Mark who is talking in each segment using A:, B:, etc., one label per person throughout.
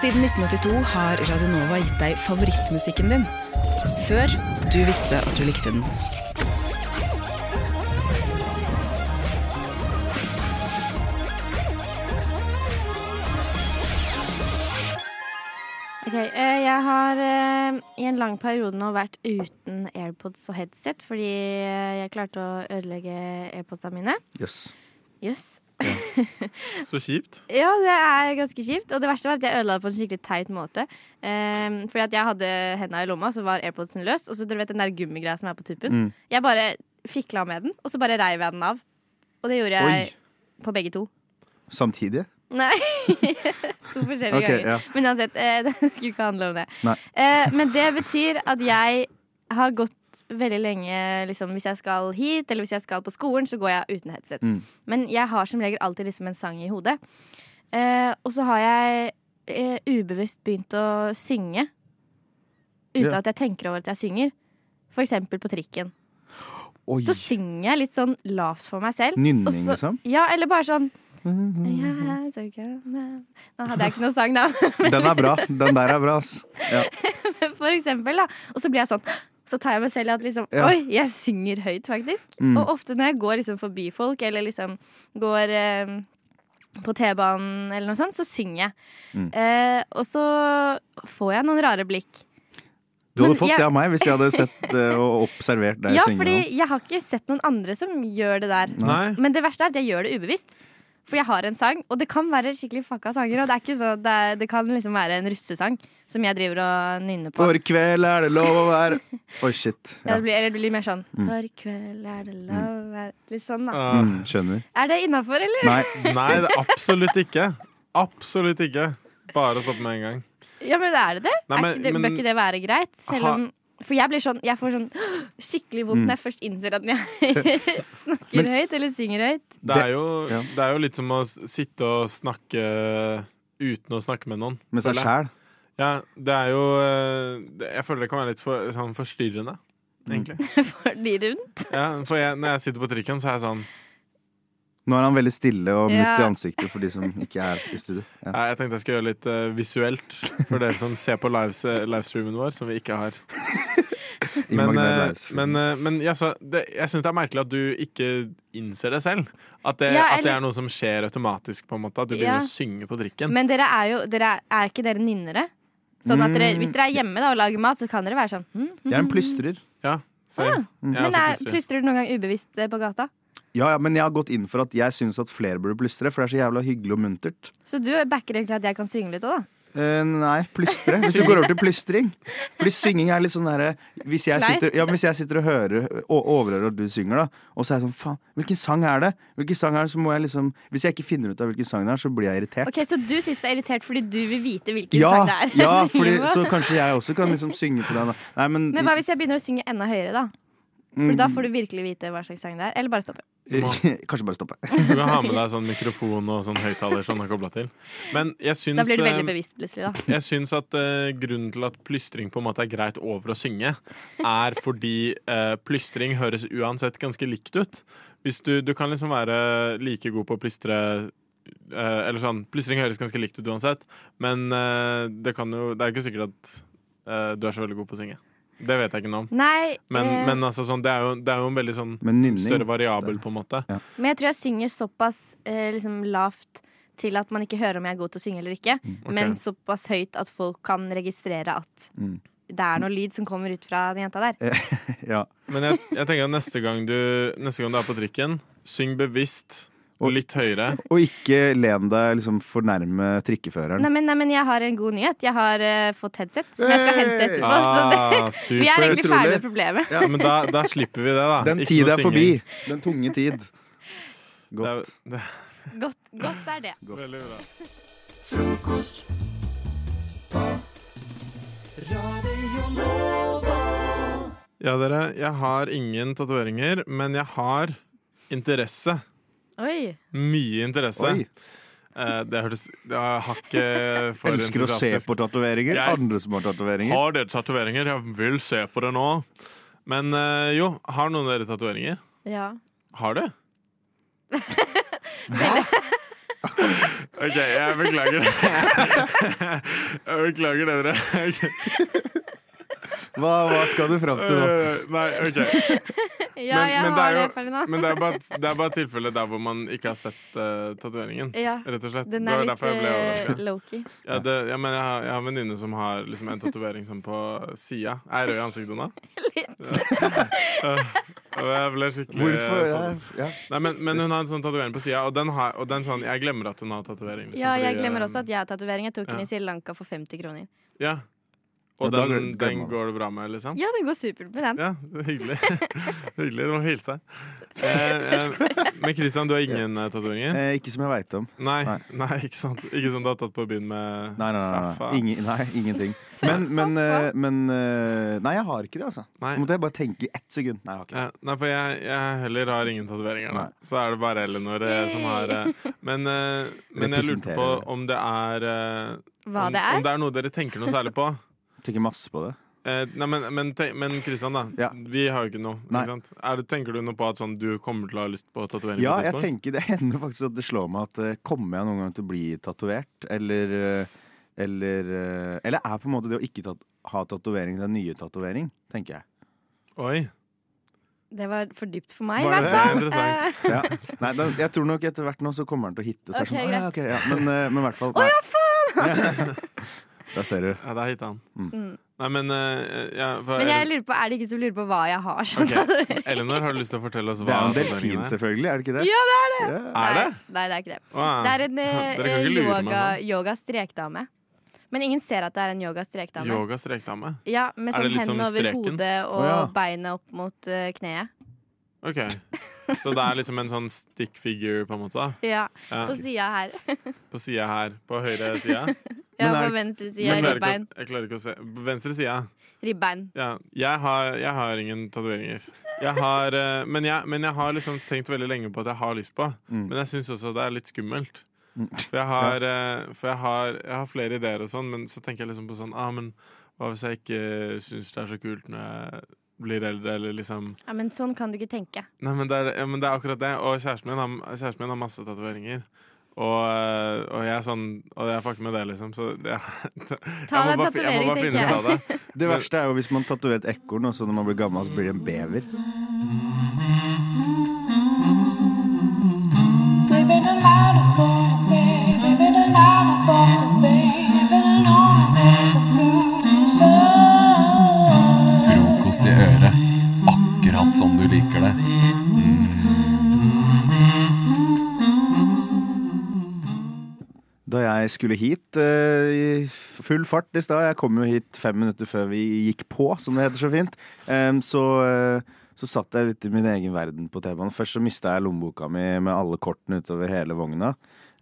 A: Siden 1982 har Radionova gitt deg favorittmusikken din. Før du visste at du likte den.
B: Ok, eh, Jeg har eh, i en lang periode nå vært uten AirPods og headset fordi eh, jeg klarte å ødelegge AirPodsa mine.
C: Jøss.
B: Jøss.
D: Så kjipt.
B: Ja, det er ganske kjipt. Og det verste var at jeg ødela det på en skikkelig teit måte. Um, fordi at jeg hadde henda i lomma, så var AirPodsen løs. Og så dere vet den der gummigreia som er på tuppen.
C: Mm.
B: Jeg bare fikla med den, og så bare reiv jeg den av. Og det gjorde jeg
C: Oi.
B: på begge to.
C: Samtidig?
B: Nei. to forskjellige
C: Ok,
B: ganger.
C: ja.
B: Men uansett, eh, det skulle ikke handle om det.
C: Nei.
B: Eh, men det betyr at jeg har gått veldig lenge liksom, Hvis jeg skal hit, eller hvis jeg skal på skolen, så går jeg uten headset.
C: Mm.
B: Men jeg har som regel alltid liksom en sang i hodet. Eh, og så har jeg eh, ubevisst begynt å synge uten
C: Ja.
B: at jeg tenker over at jeg synger. For eksempel på trikken.
C: Oi.
B: Så synger jeg litt sånn lavt for meg selv.
C: Nynning,
B: og så-
C: liksom? Mm-hmm.
B: Ja, eller bare sånn «Jeg er så glad». Nå hadde jeg ikke noe sang, da.
C: Den er bra. Den der er bra, ass. Ja.
B: For eksempel, da. Og så blir jeg sånn Så tar jeg meg selv i at liksom
C: Ja.
B: Oi, jeg synger høyt, faktisk.
C: Mm.
B: Og ofte når jeg går liksom forbi folk, eller liksom går eh, på T-banen eller noe sånt, så synger jeg.
C: Mm.
B: Eh, og så får jeg noen rare blikk.
C: Du
B: Men
C: hadde fått
B: jeg-
C: det av meg hvis jeg hadde sett eh, og observert deg
B: Ja,
C: synge
B: fordi
C: noe.
B: jeg har ikke sett noen andre som gjør det der.
D: Nei.
B: Men det verste er at jeg gjør det ubevisst. For jeg har en sang, og det kan være skikkelig fucka sanger. Og det, er ikke så, det, er, det kan liksom være en russesang som jeg driver og nynner på.
C: For i kveld er det lov å være Oi, shit.
B: Ja,
C: Ja.
B: det blir, eller det blir mer sånn For kveld er det lov er Litt sånn, da.
D: Eh,
C: Mm, skjønner.
B: Er det innafor, eller?
C: Nei.
D: nei, det er absolutt ikke. Absolutt ikke. Bare stopp med en gang.
B: Ja, men er det det?
D: Nei, men-
B: er ikke det
D: men-
B: bør ikke det være greit? Selv
D: Ha-
B: om For jeg blir sånn Jeg får sånn skikkelig vondt
C: Mm.
B: når jeg først innser at jeg snakker høyt eller synger høyt.
D: Det er, jo,
C: ja.
D: det er jo litt som å s- sitte og snakke uten å snakke med noen.
C: Med seg
D: føler jeg.
C: sjæl.
D: Ja, det er jo eh, det- Jeg føler det kan være litt for, sånn forstyrrende, egentlig.
B: Fordi rundt.
D: Ja, for jeg, når jeg sitter på trikken, så er jeg sånn
C: Nå er han veldig stille og midt
B: Ja. Mm.
C: i ansiktet for de som ikke er i studio. Ja.
D: Nei, Jeg tenkte jeg skulle gjøre litt eh, visuelt for dere som ser på lives, eh, livestreamen vår, som vi ikke har. Men, eh, men, eh, men ja, så det, jeg syns det er merkelig at du ikke innser det selv. At det,
B: Ja,
D: at det
B: eller-
D: er noe som skjer automatisk. på en måte At du
B: Ja.
D: begynner å synge på drikken.
B: Men dere er jo dere er, er ikke dere nynnere? Sånn at dere, Hvis dere er hjemme da og lager mat, så kan dere være sånn hm, hm.
C: jeg er en plystrer.
D: ja, same. Jeg er
B: Ah, Men
D: også
B: er,
D: plystrer.
B: plystrer du noen gang ubevisst eh, på gata?
C: Ja, ja, men jeg har gått inn for at jeg syns at flere burde plystre, for det er så jævla hyggelig og muntert.
B: Så du backer egentlig at jeg kan synge litt òg, da?
C: Eh, nei, plystre. Hvis du går over til plystring. Fordi synging er litt sånn derre hvis, jeg
B: Nei.
C: sitter- ja, men hvis jeg sitter og hører og overhører at du synger, da, og så er jeg sånn faen, hvilken sang er det? Hvilken sang er det? Så må jeg liksom Hvis jeg ikke finner ut av hvilken sang det er, så blir jeg irritert.
B: Ok, Så du syns det er irritert fordi du vil vite hvilken sang
C: Ja,
B: det er?
C: ja
B: jeg
C: fordi,
B: synger på?
C: så kanskje jeg også kan liksom synge på den. da. Nei, men,
B: Men hva hvis jeg begynner å synge enda høyere, da? For da får du virkelig vite hva slags sang det er. Eller bare stoppe.
C: Kanskje bare stoppe.
D: Du kan ha med deg sånn mikrofon og sånn høyttaler som er kobla til. Men jeg syns,
B: Da blir du
D: eh,
B: veldig bevisst plutselig, da.
D: jeg syns at eh, grunnen til at plystring på en måte er greit over å synge, er fordi eh, plystring høres uansett ganske likt ut. Hvis du, du kan liksom være like god på å plystre eh, Eller sånn, plystring høres ganske likt ut uansett, men eh, det kan jo Det er ikke sikkert at eh, du er så veldig god på å synge. Det vet jeg ikke noe om.
B: Nei,
D: Men,
B: eh, men,
D: men altså sånn, det er jo, det er jo en veldig sånn
C: Men nynning
D: større variabel, på en måte.
B: jeg tror jeg synger såpass eh, liksom lavt til at man ikke hører om jeg er god til å synge eller ikke.
D: Ok.
B: Men såpass høyt at folk kan registrere at
C: Mm.
B: det er noe lyd som kommer ut fra den jenta der.
C: Ja.
D: Men jeg, jeg tenker at neste gang, du, neste gang du er på trikken, syng bevisst og litt høyere.
C: Og ikke len deg liksom for nærme trikkeføreren.
B: Nei men, nei, men jeg har en god nyhet. Jeg har eh, fått headset som jeg skal hente etterpå. Så det,
D: Ah,
B: vi er egentlig
D: supert.
C: utrolig.
B: ferdig med problemet.
D: Ja, men da, da slipper vi det, da.
C: Den
D: Ikke
C: tid
D: noe
C: er forbi. Den tunge tid.
D: synging.
C: Godt.
D: Det er,
B: Godt, godt er det.
D: det er veldig bra. Ja, dere, jeg har ingen tatoveringer, men jeg har interesse.
B: Oi.
D: Mye interesse.
C: Oi.
D: Eh, det hørtes Jeg har ikke for
C: Elsker å se
D: entusiastisk.
C: på tatoveringer.
D: Jeg-
C: Andre som har tatoveringer.
D: Har dere tatoveringer? Jeg vil se på det nå. Men eh, jo, har
E: Eh,
D: noen av dere tatoveringer?
B: Ja.
D: Har du? OK, jeg beklager. Jeg beklager det, dere. Ok.
C: Hva, hva skal du fram til nå?
D: Øh, Nei, OK.
B: Ja,
D: Men-
B: jeg
D: men det
B: har
D: er
B: det,
D: jo-
B: Ferdinand.
D: Men det er bare, det er bare tilfellet der hvor man ikke har sett uh, tatoveringen.
B: ja.
D: Rett og slett.
B: Den
D: det
B: er
D: var
B: litt
D: derfor jeg ble
B: eh,
D: overrasket.
B: low-key.
D: Ja, det, ja, men jeg har, jeg har en venninne som har liksom en tatovering sånn på sida. Er jeg rød i ansiktet nå?
B: Litt.
D: Og jeg ble skikkelig
C: Hvorfor?
D: eh,
C: Ja,
D: Sånn.
C: ja.
D: Nei, men, men hun har en sånn tatovering på sida, og, den har- og den sånn Jeg glemmer at hun har tatovering. Liksom,
B: Ja, jeg
D: fordi,
B: glemmer
D: eh,
B: også at jeg har tatovering. Jeg tok den
D: ja.
B: i Sri Lanka for 50 kroner.
D: Ja. Og
C: Ja, da
D: den,
C: glem-
D: den
C: glemmer man.
D: går det bra med, liksom?
B: Ja, den går supert med den.
D: Ja, hyggelig. hyggelig. Du må hilse. Eh, eh, men Christian, du har ingen eh, tatoveringer?
C: Eh, ikke som jeg veit om.
D: Nei,
C: Nei.
D: nei, ikke sant. Ikke som du har tatt på byen med
C: Nei, nei, nei, nei.
D: Faffa.
C: Ingen, nei ingenting. Men, men, eh, men eh, Nei, jeg har ikke det, altså.
D: Nei.
C: Nå måtte jeg bare tenke i ett sekund. Nei, jeg har ikke det.
D: Ja, nei, for jeg, jeg heller har ingen tatoveringer. da.
C: Nei.
D: Så er det bare Eleanor eh, som har eh, Men, eh, men jeg lurte på
C: Representerer.
D: om det er eh,
B: Hva
D: om,
B: det
D: Om
B: er?
D: det er noe dere tenker noe særlig på.
C: Tenker masse på det.
D: Eh, nei, men, men, tenk, men Kristian, da.
C: Ja.
D: Vi har jo ikke noe.
C: Nei.
D: Ikke sant? Er det, tenker du noe på at sånn, du kommer til å ha lyst på tatovering?
C: Ja,
D: på et
C: jeg
D: tidspunkt?
C: tenker Det hender faktisk at det slår meg at eh, kommer jeg noen gang til å bli tatovert? Eller eh, eller, eh, eller er på en måte det å ikke tat ha tatovering den nye tatovering, tenker jeg.
D: Oi.
B: Det var for dypt for meg, i
D: Var
B: hvert
D: det-
B: fall.
D: det er interessant.
B: Eh,
C: Ja. Nei, da, jeg tror nok etter hvert nå så kommer den til å hitte. Så er det
B: Ok,
C: sånn, «Å, ja, ok, ja. Men, eh, men i hvert fall
B: Å, ja,
C: Der ser du.
D: Ja, der hitta han.
B: Mm.
D: Nei, men eh, ja, for
B: Men jeg
D: Ele-
B: lurer på, er det ingen som lurer på hva jeg har? Sånn
D: Ok.
B: tatovering?
D: Eleanor, har du lyst til å fortelle oss
C: Det
D: hva
C: er en
D: tatoveringen
C: delfin, selvfølgelig. Er det ikke det?
B: Ja, det
C: er det!
D: Er
B: Nei,
D: det?
B: nei, det er ikke det.
D: Å,
B: Det
D: ja.
B: er en eh,
D: Dere kan ikke lure meg
B: yoga,
D: sånn.
B: yoga-strekdame. Men ingen ser at det er en yoga-strekdame.
D: Yoga strekdame?
B: Ja, Med
D: Er det
B: sånn
D: litt som
B: hendene over
D: streken?
B: hodet og
C: Å, ja.
B: beinet opp mot eh, kneet.
D: Ok. Så det er liksom en sånn stick figure, på en måte? da?
B: Ja,
D: Ja.
B: På sida her.
D: På sida her. På høyre side.
B: Ja, på
C: Men er det- altså-
B: venstre side.
D: Jeg, klarer ikke
B: Ribbein.
D: å- jeg klarer ikke å se. På venstre side.
B: Ribbein.
D: Ja. Jeg, har, jeg har ingen tatoveringer. Jeg har, eh, men, jeg, men jeg har liksom tenkt veldig lenge på at jeg har lyst på.
C: Mm.
D: Men jeg syns også det er litt skummelt.
C: Mm.
D: For jeg har, eh, for jeg har, jeg har flere ideer og sånn, men så tenker jeg liksom på sånn ah, men Hva hvis jeg ikke syns det er så kult når jeg blir eldre, eller liksom
B: Ja, men sånn kan du ikke tenke.
D: Nei, men det er, ja, men det er akkurat det. Og kjæresten min har, kjæresten min har masse tatoveringer. Og, eh, og jeg er sånn Og jeg fucker med det, liksom. Så det,
B: Ta deg
D: jeg,
B: en
D: må bare, fi- jeg må
B: tatovering,
D: bare
B: tenker
D: finne ut
B: jeg.
D: av det.
C: Det verste er jo hvis man tatoverer et ekorn, og så når man blir gammel, så blir det en bever.
F: We've been alive for a bit, we've been alive for a bit, we've been on a bit, so
G: Frokost i øret, akkurat som du liker det.
C: Da jeg skulle hit eh, i full fart i stad Jeg kom jo hit fem minutter før vi gikk på, som det heter så fint. em, så, eh, så satt jeg litt i min egen verden på T-banen. Først så mista jeg lommeboka mi med alle kortene utover hele vogna.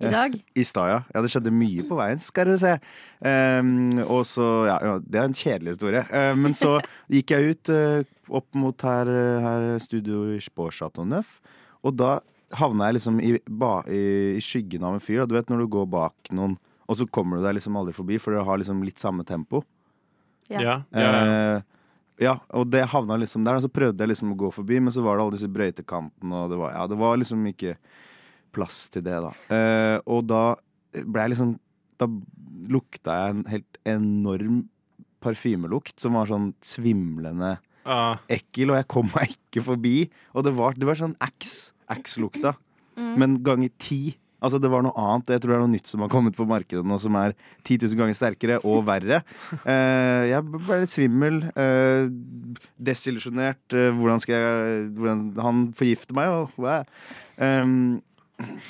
C: Eh,
B: I dag.
C: I stad, ja. ja. Det skjedde mye på veien, skal du se. Em, og så Ja, ja, det er en kjedelig historie. Eh, men så gikk jeg ut eh, opp mot her, eh, her studio i Sporchateau Neuf, og da havna jeg liksom i, ba, i, i skyggen av en fyr. Og du vet når du går bak noen, og så kommer du deg liksom aldri forbi, for dere har liksom litt samme tempo.
B: Ja.
D: Ja, ja, ja.
C: Eh, ja, og det havna liksom der. Og så prøvde jeg liksom å gå forbi, men så var det alle disse brøytekantene, og det var, ja, det var liksom ikke plass til det, da. Eh, og da ble jeg liksom Da lukta jeg en helt enorm parfymelukt som var sånn svimlende
D: Ah,
C: ekkel, og jeg kom meg ikke forbi. Og det var, det var sånn Axe. Axe-lukta. Men ganger ti. Altså Det var noe annet. Jeg tror det er noe nytt som har kommet på markedet nå, som er 10 000 ganger sterkere og verre. Eh, jeg ble litt svimmel. eh, Desillusjonert. eh, hvordan skal jeg hvordan, Han forgifter meg, og wow. Em,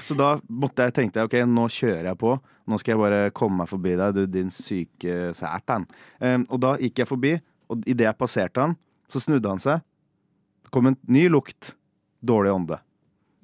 C: så da måtte jeg, tenkte jeg ok, nå kjører jeg på. Nå skal jeg bare komme meg forbi deg, du din syke sætan. Em, og da gikk jeg forbi, og idet jeg passerte han, så snudde han seg. Det kom en ny lukt. Dårlig ånde.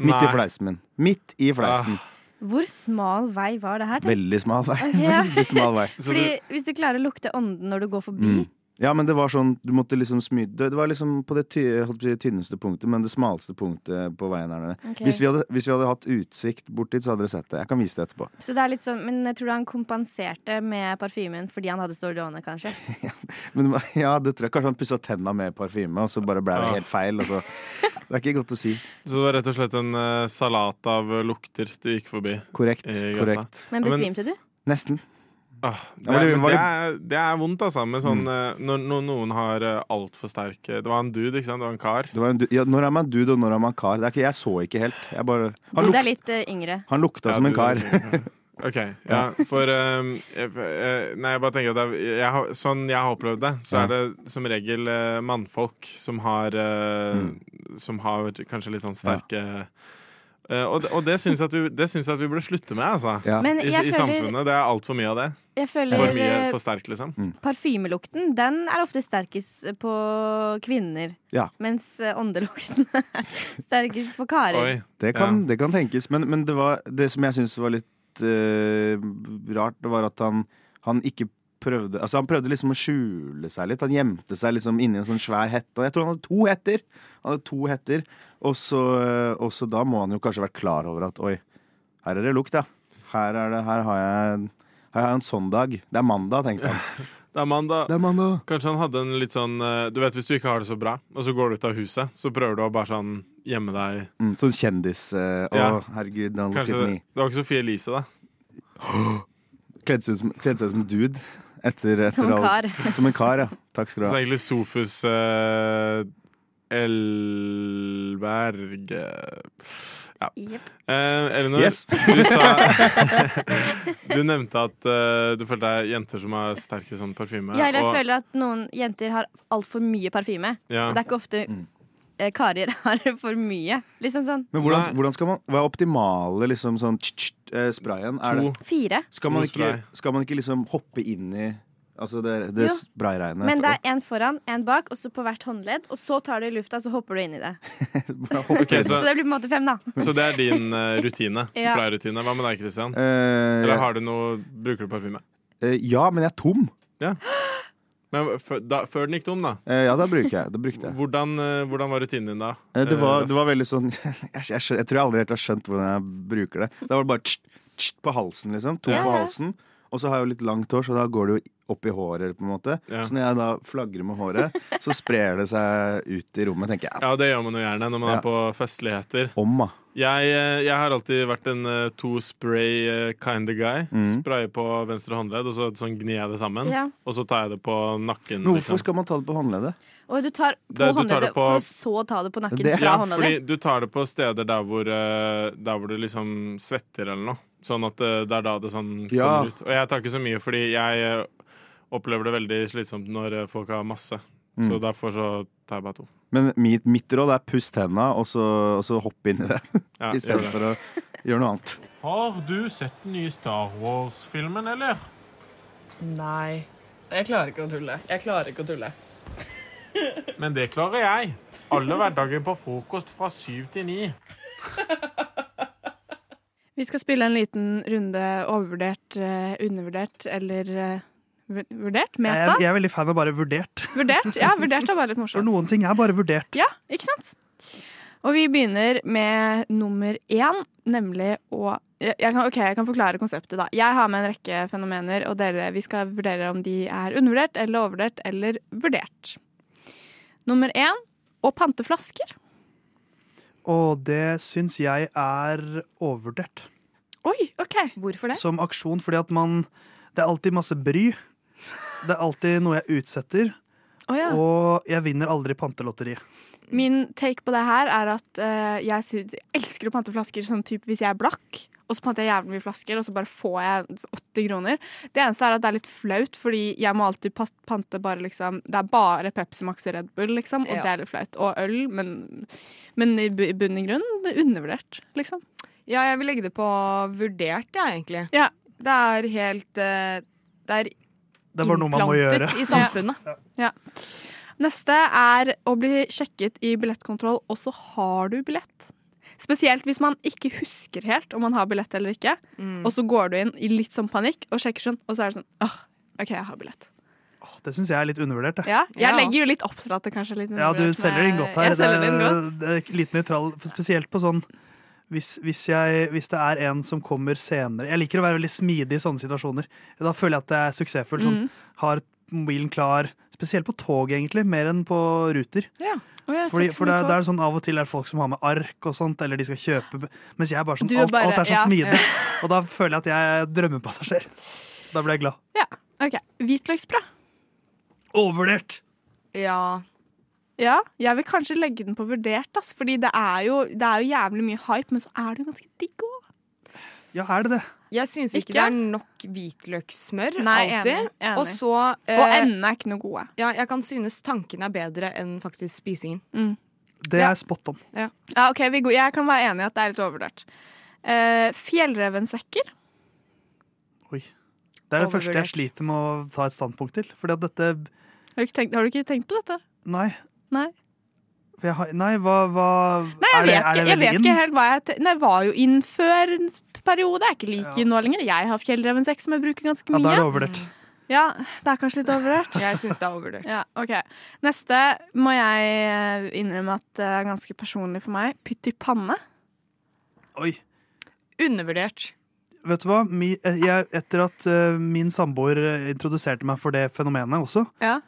C: Midt i
D: nei.
C: fleisen min. Midt i fleisen.
D: Ah.
B: Hvor smal vei var det her? tenker jeg?
C: Veldig smal vei.
B: Ok, ja.
C: Veldig smal vei.
D: Så
B: Fordi
D: du,
B: Hvis du klarer å lukte ånden når du går forbi
C: Mm. Ja, men det var sånn, du måtte liksom smy... Det det var liksom på det ty jeg holdt på å si, tynneste punktet, men det smaleste punktet på veien her nede.
B: Ok.
C: Hvis, vi hadde, hvis vi hadde hatt utsikt bort dit, så hadde dere sett det. Jeg kan vise det etterpå.
B: Så det er litt sånn, Men jeg tror du han kompenserte med parfymen fordi han hadde så dårlig ånde, kanskje?
D: Ah.
C: Men det var- ja, det tror jeg kanskje han pussa tenna med parfyme, og så bare ble det helt feil. Og så Det er ikke godt å si.
D: Så det var rett og slett en eh, salat av eh, lukter du gikk forbi.
C: Korrekt.
D: I gata.
C: korrekt.
B: Men
D: Ja, men-
B: besvimte du?
C: Nesten.
D: Ah, det,
C: Ja, var det-
D: er, men
C: var
D: det,
C: det- Mm.
D: er, det er vondt, altså. Med sånn, eh, når, når noen har eh, altfor sterke Det var en dude, ikke sant? Det var en kar.
C: Det var en du ja, når er man dude, og når er man kar? Det er ikke, jeg så ikke helt. Jeg bare, han,
B: Du
C: luk
B: er litt eh, yngre.
C: han lukta
D: Ja,
C: som en
D: du-
C: kar.
D: OK. Ja, for eh, jeg, eh, Nei, jeg bare tenker at jeg, jeg, har- sånn jeg har opplevd det, så
C: Ja.
D: er det som regel eh, mannfolk som har eh,
C: Mm.
D: Som har kanskje litt sånn sterke eh, og, og det syns jeg at vi, det syns jeg at vi burde slutte med, altså.
C: Ja.
B: Men
D: I,
B: jeg
D: I
B: føler,
D: samfunnet. Det er altfor mye av det.
B: jeg
D: For
B: føler
D: mye
B: eh,
D: for sterkt, liksom.
C: Mm.
B: parfymelukten Den er ofte sterkest på kvinner.
C: Ja.
B: Mens eh, åndelukten er sterkest på karer.
D: Oi.
C: Det kan, det kan tenkes. Men, men det, var, det som jeg syns var litt eh, rart, det var at han, han ikke prøvde Altså Han prøvde liksom å skjule seg litt. Han gjemte seg liksom inni en sånn svær hette. Og Jeg tror han hadde to hetter! Han hadde to hetter Og så, og så da må han jo kanskje ha vært klar over at oi, her er det lukt, ja. Her, er det, her har jeg en- her har jeg en sånn dag. Det er mandag, tenkte han.
D: Det er mandag.
C: Det er mandag.
D: Kanskje han hadde en litt sånn eh, Du vet hvis du ikke har det så bra, og så går du ut av huset, så prøver du å bare sånn gjemme deg
C: Mm, sånn kjendis. eh, Å,
D: Ja.
C: herregud, han lukket
D: Kanskje det,
C: ni.
D: det var ikke Sofie Elise, da.
C: Kledde seg ut som, kledde seg ut som dude. Etter, etter
B: Som en
C: alt.
B: kar.
C: Som en kar, ja. Takk skal du
D: Så
C: ha.
D: egentlig Sofus eh, Elberg eh, Ja.
B: Jepp.
D: Eh, Elinor,
C: Yes.
D: du sa Du nevnte at eh, du følte deg jenter som har sterke sånn parfyme.
B: Ja, eller jeg
D: og-
B: føler at noen jenter har altfor mye parfyme.
D: ja.
B: Og det er ikke ofte eh, karer har for mye. Liksom sånn
C: Mm. Men
D: Nei.
C: hvordan, hvordan skal man Hva er optimale liksom sånn tsk, tsk, eh, sprayen? Er
D: To.
C: det,
B: fire.
C: skal,
D: to
C: man ikke,
D: spray.
C: skal man ikke liksom hoppe inn i Altså det, det
B: Jo.
C: sprayregnet?
B: Men det er én foran, én bak, og så på hvert håndledd. Og så tar du i lufta, så hopper du inn i det.
C: Bare hoppe
D: Ok,
C: inn.
B: Så
D: så,
B: det blir på en måte fem, da.
D: så det er din eh, rutine.
B: Ja.
D: Sprayrutine. Hva med deg, Christian?
C: Eh,
D: Eller har du noe Bruker du parfyme?
C: eh, ja, men jeg er tom.
D: Men før, da, før den gikk tom, da.
C: Eh, ja, da bruker jeg. Da brukte jeg.
D: Hvordan, eh, hvordan var rutinen din da?
C: Eh, det,
D: Eh,
C: var, det var veldig sånn jeg, skjø- jeg, skjø- jeg tror jeg aldri helt har skjønt hvordan jeg bruker det. Da var det bare tsk, tsk, på halsen, liksom. To
B: Ja,
C: på
B: ja.
C: halsen. Og så har jeg jo litt langt hår, så da går det jo opp i håret. på en måte
D: Ja.
C: Så når jeg da flagrer med håret, så sprer det seg ut i rommet, tenker jeg.
D: Ja, det gjør man jo gjerne når man
C: Ja.
D: er på festligheter.
C: Om, da.
D: Jeg, eh, jeg har alltid vært en eh, to spray eh, kind of guy.
C: Mhm.
D: Spraye på venstre håndledd, og så sånn gnir jeg det sammen.
B: Ja.
D: Og så tar jeg det på nakken. liksom.
C: Men hvorfor skal man ta det på håndleddet?
B: Og du tar på
D: Det- du tar det
B: håndleddet,
D: på-
B: for så å ta det på nakken
C: Det-
B: fra
D: ja,
B: hånda
D: fordi
B: di.
D: du tar det på steder der hvor, eh, der hvor du liksom svetter eller noe. Sånn at eh, det er da det sånn kommer
C: Ja.
D: ut. Og jeg tar ikke så mye, fordi jeg eh, opplever det veldig slitsomt når eh, folk har masse. Så
C: Mm.
D: derfor så tar jeg bare to.
C: Men mitt, mitt råd er pust henda, og, så- og så hopp inn i det.
D: Ja,
C: I
D: gjør
C: stedet
D: det.
C: for å gjøre noe annet.
D: Har du sett den nye Star Wars-filmen, eller?
H: Nei. Jeg klarer ikke å tulle. Jeg klarer ikke å tulle.
D: Men det klarer jeg. Alle hverdager på frokost fra syv til ni.
I: Vi skal spille en liten runde overvurdert, eh, undervurdert eller eh, vu- vurdert.
E: Jeg,
I: Meta.
E: jeg er veldig fan av bare vurdert.
I: Vurdert ja, vurdert er bare litt
E: For
I: morsomt.
E: noen ting er bare vurdert.
I: Ja, ikke sant? Og vi begynner med nummer én, nemlig å jeg jeg kan, ok, jeg kan forklare konseptet. da. Jeg har med en rekke fenomener, og dere, vi skal vurdere om de er undervurdert eller overvurdert eller vurdert. Nummer én å pante flasker.
E: Og det syns jeg er overvurdert.
I: Oi, ok.
A: Hvorfor
E: Som aksjon, fordi at man Det er alltid masse bry. Det er alltid noe jeg utsetter.
I: Å ja.
E: Og jeg vinner aldri pantelotteri.
I: Min take på det her er at eh, jeg, sy- jeg elsker å pante flasker sånn typ hvis jeg er blakk. Og så panter jeg jævlig mye flasker, og så bare får jeg 80 kroner. Det eneste er at det er litt flaut, fordi jeg må alltid pas- pante bare liksom Det er bare Pepsi Max og Red Bull, liksom, og
H: Ja.
I: det er litt flaut. Og øl, men, men i bu- i bunn og grunn det er undervurdert, liksom.
H: Ja, jeg vil legge det på vurdert, jeg, egentlig.
I: Ja.
H: Det er helt eh, Det er
E: Det var noe man må gjøre.
H: innplantet i samfunnet.
I: Neste er å bli sjekket i billettkontroll, og så har du billett. Spesielt hvis man ikke husker helt om man har billett eller ikke.
H: Mm.
I: Og så går du inn i litt sånn panikk og sjekker sånn, og så er det sånn Åh, OK, jeg har billett.
E: Åh, Det syns jeg er litt undervurdert. Jeg.
I: Ja, jeg
H: Ja.
I: legger jo litt opp til at det kanskje er litt
E: Ja, du
I: undervurdert,
E: selger
I: men
E: det inn godt her.
I: Jeg selger det inn godt.
E: Det er litt nøytral, for spesielt på sånn hvis, hvis, jeg, hvis det er en som kommer senere Jeg liker å være veldig smidig i sånne situasjoner. Da føler jeg at jeg er
I: Mm.
E: suksessfull. Sånn, har mobilen klar. Spesielt på tog, egentlig, mer enn på ruter.
H: Ja.
I: Å ja, takk
E: Fordi,
I: så
E: for det,
I: mye,
E: det er sånn Av og til er det folk som har med ark og sånt, eller de skal kjøpe b- Mens jeg er bare sånn
I: Du er
E: alt,
I: bare-
E: alt er så
I: ja,
E: smidig.
I: ja.
E: Og da føler jeg at jeg er drømmepassasjer. Da blir jeg glad.
I: Ja, ok. Hvitløksbrød.
E: Overvurdert!
H: Ja.
I: Ja, jeg vil kanskje legge den på vurdert, ass, fordi det er, jo, det er jo jævlig mye hype, men så er det jo ganske digg òg.
E: Ja, er det det?
J: Jeg syns ikke,
I: Ikke?
J: det er nok hvitløkssmør
I: Nei,
J: alltid.
I: enig, enig.
J: Og så
I: Og
J: eh,
I: endene er ikke noe gode.
J: ja, Jeg kan synes tanken er bedre enn faktisk spisingen.
E: Det
I: Ja.
E: er spot on.
I: Ja, ok, vi går. Jeg kan være enig i at det er litt overvurdert. Eh, fjellrevensekker.
E: Oi. Det er det første
J: Overvurdert.
E: jeg sliter med å ta et standpunkt til. Fordi at dette
I: Har du, ikke tenkt, har du ikke tenkt på dette?
E: Nei.
I: Nei.
E: For jeg har, nei, hva, hva
I: Nei, jeg,
E: er det,
I: vet, ikke,
E: er det
I: jeg vet
E: veldig
I: ikke
E: inn?
I: helt hva jeg te- Nei, jeg var jo inn før en periode. Jeg er ikke like
E: Ja.
I: nå lenger. Jeg har fjellrevensekk som jeg bruker ganske
E: Ja, da
I: mye.
E: er det overvurdert.
I: Ja, det er kanskje litt overvurdert.
J: Jeg syns det er overvurdert.
I: Ja, ok. Neste må jeg eh, innrømme at det er ganske personlig for meg. Pytt i panne.
E: Oi.
J: Undervurdert.
E: Vet du hva? Mi, eh, jeg, etter at eh, min samboer eh, introduserte meg for det fenomenet også,
I: Ja.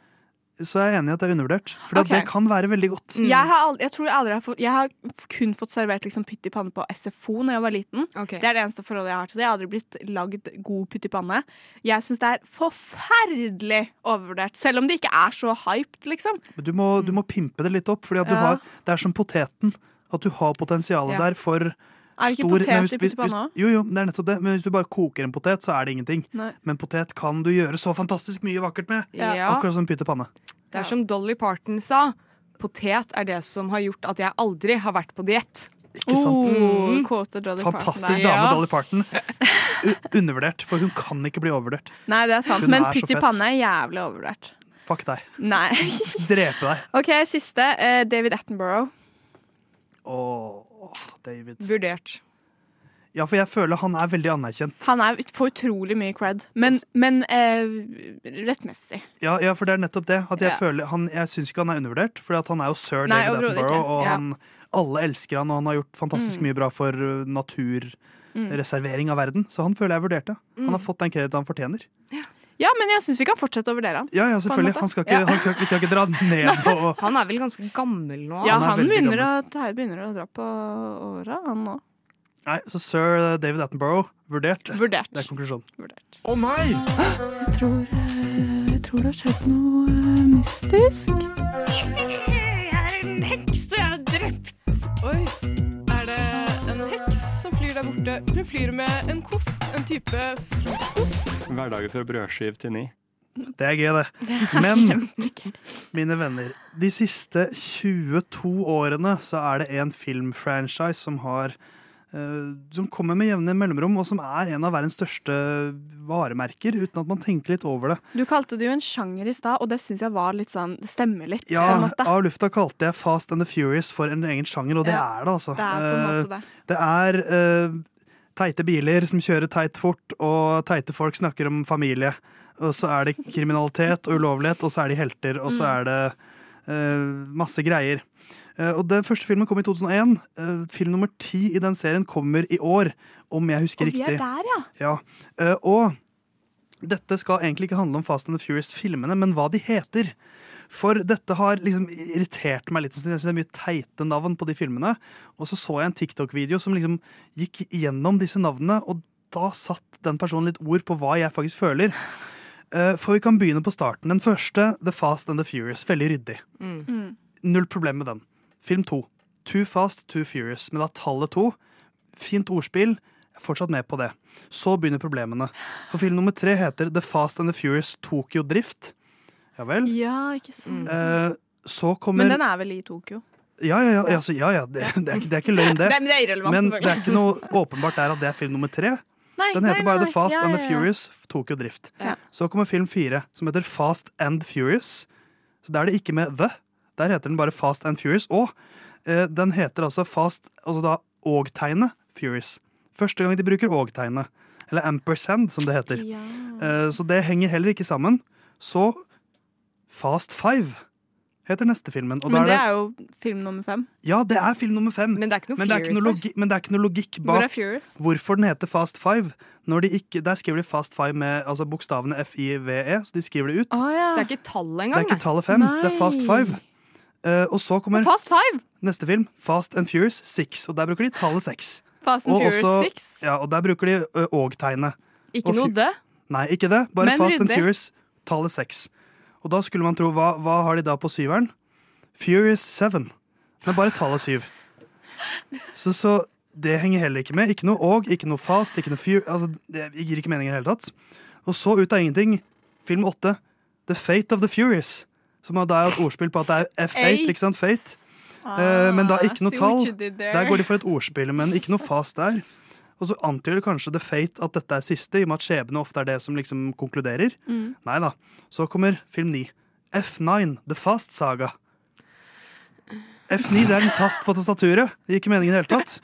E: så er jeg enig i at det er undervurdert. For
I: Ok.
E: det kan være veldig godt.
J: Mm.
I: Jeg, har aldri, jeg tror jeg aldri har fått Jeg har f- kun fått servert liksom pytt i panne på SFO når jeg var liten.
J: Ok.
I: Det er det eneste forholdet jeg har til det. Jeg har aldri blitt lagd god pytt i panne. Jeg syns det er forferdelig overvurdert, selv om det ikke er så hyped, liksom.
E: Men Du må, du må pimpe det litt opp, for
I: Ja.
E: det er som poteten. At du har potensialet
J: Ja.
E: der for
I: Er det ikke
E: stor men
I: potet i pytt i panne òg?
E: hvis, jo, jo, det er nettopp det. Men hvis du bare koker en potet, så er det ingenting.
I: Nei.
E: Men potet kan du gjøre så fantastisk mye vakkert med.
J: Ja.
E: Akkurat som pytt i panne.
J: Det er som Dolly Parton sa. Potet er det som har gjort at jeg aldri har vært på diett. Mm.
E: Ikke sant?
I: Oh, quoted Dolly Parton
E: Fantastisk
I: der.
E: dame,
I: Ja.
E: Dolly Parton. U undervurdert, for hun kan ikke bli overvurdert.
I: Nei, det er sant.
E: Hun
I: Men
E: er så
I: pytt i
E: fett.
I: panne er jævlig overvurdert.
E: Fuck deg.
I: Nei.
E: Drepe deg.
I: Ok, siste. eh, David Attenborough.
E: Åh, David.
J: Vurdert.
E: Ja, for jeg føler han er veldig anerkjent.
I: Han er ut- får utrolig mye cred, men, men eh, rettmessig.
E: Ja, ja, for det er nettopp det. At jeg
I: Ja.
E: føler han, jeg syns ikke han er undervurdert, for at han er jo sir
I: Nei,
E: David
I: overhodet
E: Attenborough,
I: ikke.
E: og
I: Ja. Mm.
E: han, alle elsker han, og han har gjort fantastisk mye bra for uh, naturreservering av verden. Så han føler jeg vurderte. Han
I: Mm.
E: har fått den krediten han fortjener.
I: Ja, men jeg syns vi kan fortsette å vurdere han.
E: Ja, ja, selvfølgelig.
I: måte.
E: Han skal ikke, han skal, vi skal ikke dra den ned på
J: Han er vel ganske gammel nå?
I: Ja,
E: han er
I: han
E: veldig
I: begynner å, Terje begynner å dra på åra, han nå.
E: Nei, så sir David Attenborough, vurdert.
I: Vurdert.
E: Det er konklusjonen.
I: Vurdert.
D: Å nei!
I: Jeg tror, eh, jeg tror det har skjedd noe eh, mystisk.
H: Er det en heks som flyr der borte? Hun flyr med en kost, en type frokost.
K: Hverdager fra brødskive til ni.
E: Det er gøy, det. Men mine venner, de siste 22 årene så er det en filmfranchise som har eh, som kommer med jevne mellomrom, og som er en av verdens største varemerker, uten at man tenker litt over det.
I: Du kalte det jo en sjanger i stad, og det syns jeg var litt sånn Det stemmer litt.
E: Ja,
I: på en måte.
E: Av lufta kalte jeg Fast and the Furious for en egen sjanger, og det
I: Ja,
E: er det, altså.
I: Det er på en måte det.
E: Eh, det er eh, teite biler som kjører teit fort, og teite folk snakker om familie. Og så er det kriminalitet og ulovlighet, og så er de helter, og
I: Mm.
E: så er det eh, masse greier. Eh, og Den første filmen kom i 2001. Eh, film nummer ti i den serien kommer i år, om jeg husker
I: Og vi er
E: riktig.
I: der, ja.
E: Ja, eh, og dette skal egentlig ikke handle om Fast and the Furious-filmene, men hva de heter. For dette har liksom irritert meg litt. en stund. Jeg synes det er mye teite navn på de filmene. Og så så jeg en TikTok-video som liksom gikk gjennom disse navnene, og da satt den personen litt ord på hva jeg faktisk føler. Eh, For vi kan begynne på starten. Den første, The Fast and the Furious. Veldig ryddig. Null problem med den. Film to. Too Fast, Too Furious. Men da tallet to. Fint ordspill. Jeg er fortsatt med på det. Så begynner problemene. For film nummer tre heter The Fast and the Furious Tokyo Drift. Ja vel.
I: Ja, ikke sant.
E: Eh, så kommer
I: Men den er vel i Tokyo.
E: Ja, ja, ja. Altså, ja, ja det, det, er ikke, det er ikke løgn, det.
I: men det er irrelevant,
E: Men det er ikke noe åpenbart der at det er film nummer tre.
I: Nei,
E: Den
I: nei,
E: heter bare
I: nei,
E: The Fast
I: ja,
E: and
I: ja,
E: the
I: ja.
E: Furious Tokyo Drift.
I: Ja.
E: Så kommer film fire, som heter Fast and Furious. Så der er det ikke med The. Der heter den bare Fast and Furious. Og eh, den heter altså Fast Altså da og-tegnet Furious. Første gang de bruker og-tegnet. Eller ampersand, som det heter.
I: Ja.
E: Eh, Så det henger heller ikke sammen. Så Fast Five heter neste filmen. Og da
I: Men det
E: er det,
I: er jo film nummer fem.
E: ja, det er film nummer fem.
J: Men det er ikke noe
E: Men det er ikke
J: Furious
E: noe,
J: der.
E: logi, men det er ikke noe logikk
I: Hvor er
E: bak
I: Furious?
E: hvorfor den heter Fast Five. Når de ikke, der skriver de Fast Five med altså bokstavene F-I-V-E, E, så de skriver det ut.
J: Ah,
I: Å ja.
J: Det er ikke tallet
E: Det er
J: engang,
E: ikke tallet fem, det er Fast Five. Eh, og så kommer
B: Fast Five!
E: neste film, Fast and Furious 6. Og der bruker de tallet 6.
B: Fast and
E: og
B: Furious
E: også-
B: 6.
E: Ja, og der bruker de ø, og-tegnet.
J: Ikke
E: Og
J: noe
E: fu-
J: det.
E: Nei, ikke det. Bare
J: Men
E: Fast and
J: ryddig.
E: Furious, tallet 6. Og da skulle man tro, hva, hva har de da på syveren? Furious 7. Men bare tallet 7. Så, så det henger heller ikke med. Ikke noe og, ikke noe fast, ikke noe fur... Altså, det gir ikke mening i det hele tatt. Og så ut av ingenting, film 8, The Fate of the Furious. Som da er et ordspill på at det er F8, ikke sant? Fate. Eh, men
L: Ah,
E: da ikke noe
I: Ah, see what
E: tall.
I: you did there.
E: Der går de for et ordspill, men ikke noe fast der. Og så antyder kanskje The Fate at dette er siste, i og med at skjebne ofte er det som liksom konkluderer.
F: Mm.
E: Nei da. Så kommer film 9. F9, The Fast Saga. F9 det er en tast på tastaturet. Det gir ikke mening i det hele tatt.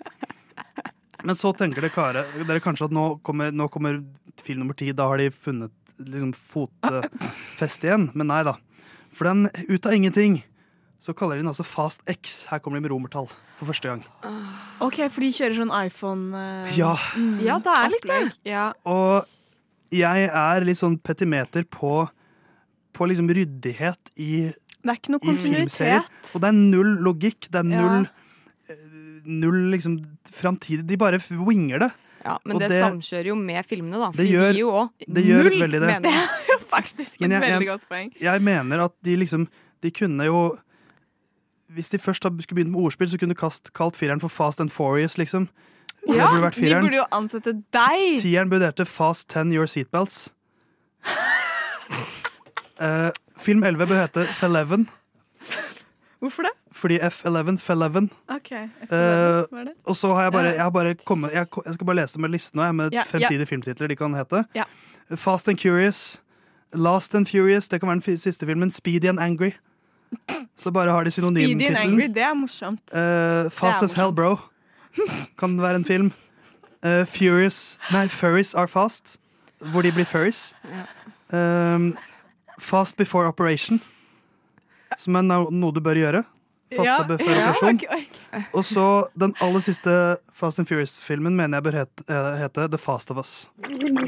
E: Men så tenker dere, kare, dere kanskje at nå kommer, nå kommer film nummer ti. Da har de funnet liksom, fotfeste igjen. Men nei da. For den ut av ingenting så kaller de den altså Fast X. Her kommer de med romertall for første gang.
I: OK, for de kjører sånn iPhone eh,
E: Ja.
I: mm,
B: Ja, det er litt det.
I: opplegg. Ja.
E: Og jeg er litt sånn petimeter på, på liksom ryddighet i,
I: Det er ikke noe
E: i filmserier.
I: kontinuitet.
E: Og det er null logikk. Det er
I: Ja.
E: null, eh, null liksom framtid. De bare winger det.
J: Ja, men
E: Og
J: det,
E: det-
J: samkjører jo med filmene, da. For
E: Det gjør-
J: det gir jo også
E: det gjør
J: null
E: veldig det.
J: mening.
E: Det
J: er jo
I: faktisk
E: Men et jeg- veldig jeg-
I: godt poeng.
E: Jeg mener at de liksom De kunne jo Hvis de først hadde- skulle begynt med ordspill, så kunne du kast, kalt fireren for Fast and Furious, liksom. Det
I: Ja,
E: burde vært
I: de
E: fireren.
I: burde jo ansette deg!
E: Tieren vurderte Fast 10 Your Seatbelts. Eh, film 11 bør hete F11,
I: Hvorfor det?
E: fordi F11, F11.
I: OK.
E: Eh,
I: Hva er det?
E: og så har jeg bare,
I: Ja.
E: jeg har bare kommet, jeg, ko- jeg skal bare lese med listen nå, jeg, med
I: Ja,
E: fremtidige
I: ja.
E: filmtitler de kan hete.
I: Ja.
E: Fast and Curious, Last and Furious, det kan være den fi- siste filmen, Speedy and Angry. Så bare har de
I: Speedy and
E: synonymtittelen.
I: Angry, det er morsomt.
E: Eh, fast
I: Det er
E: as Hell, bro. Kan det være en film. Eh, Furious Nei, Furries Are Fast. Hvor de blir furries. Um, fast Before Operation. Som er no noe du bør gjøre. Fasta
I: Ja,
E: før
I: ja,
E: operasjon.
I: ok, ok.
E: Og så den aller siste Fast and Furious-filmen mener jeg bør het eh, hete The Fast of Us.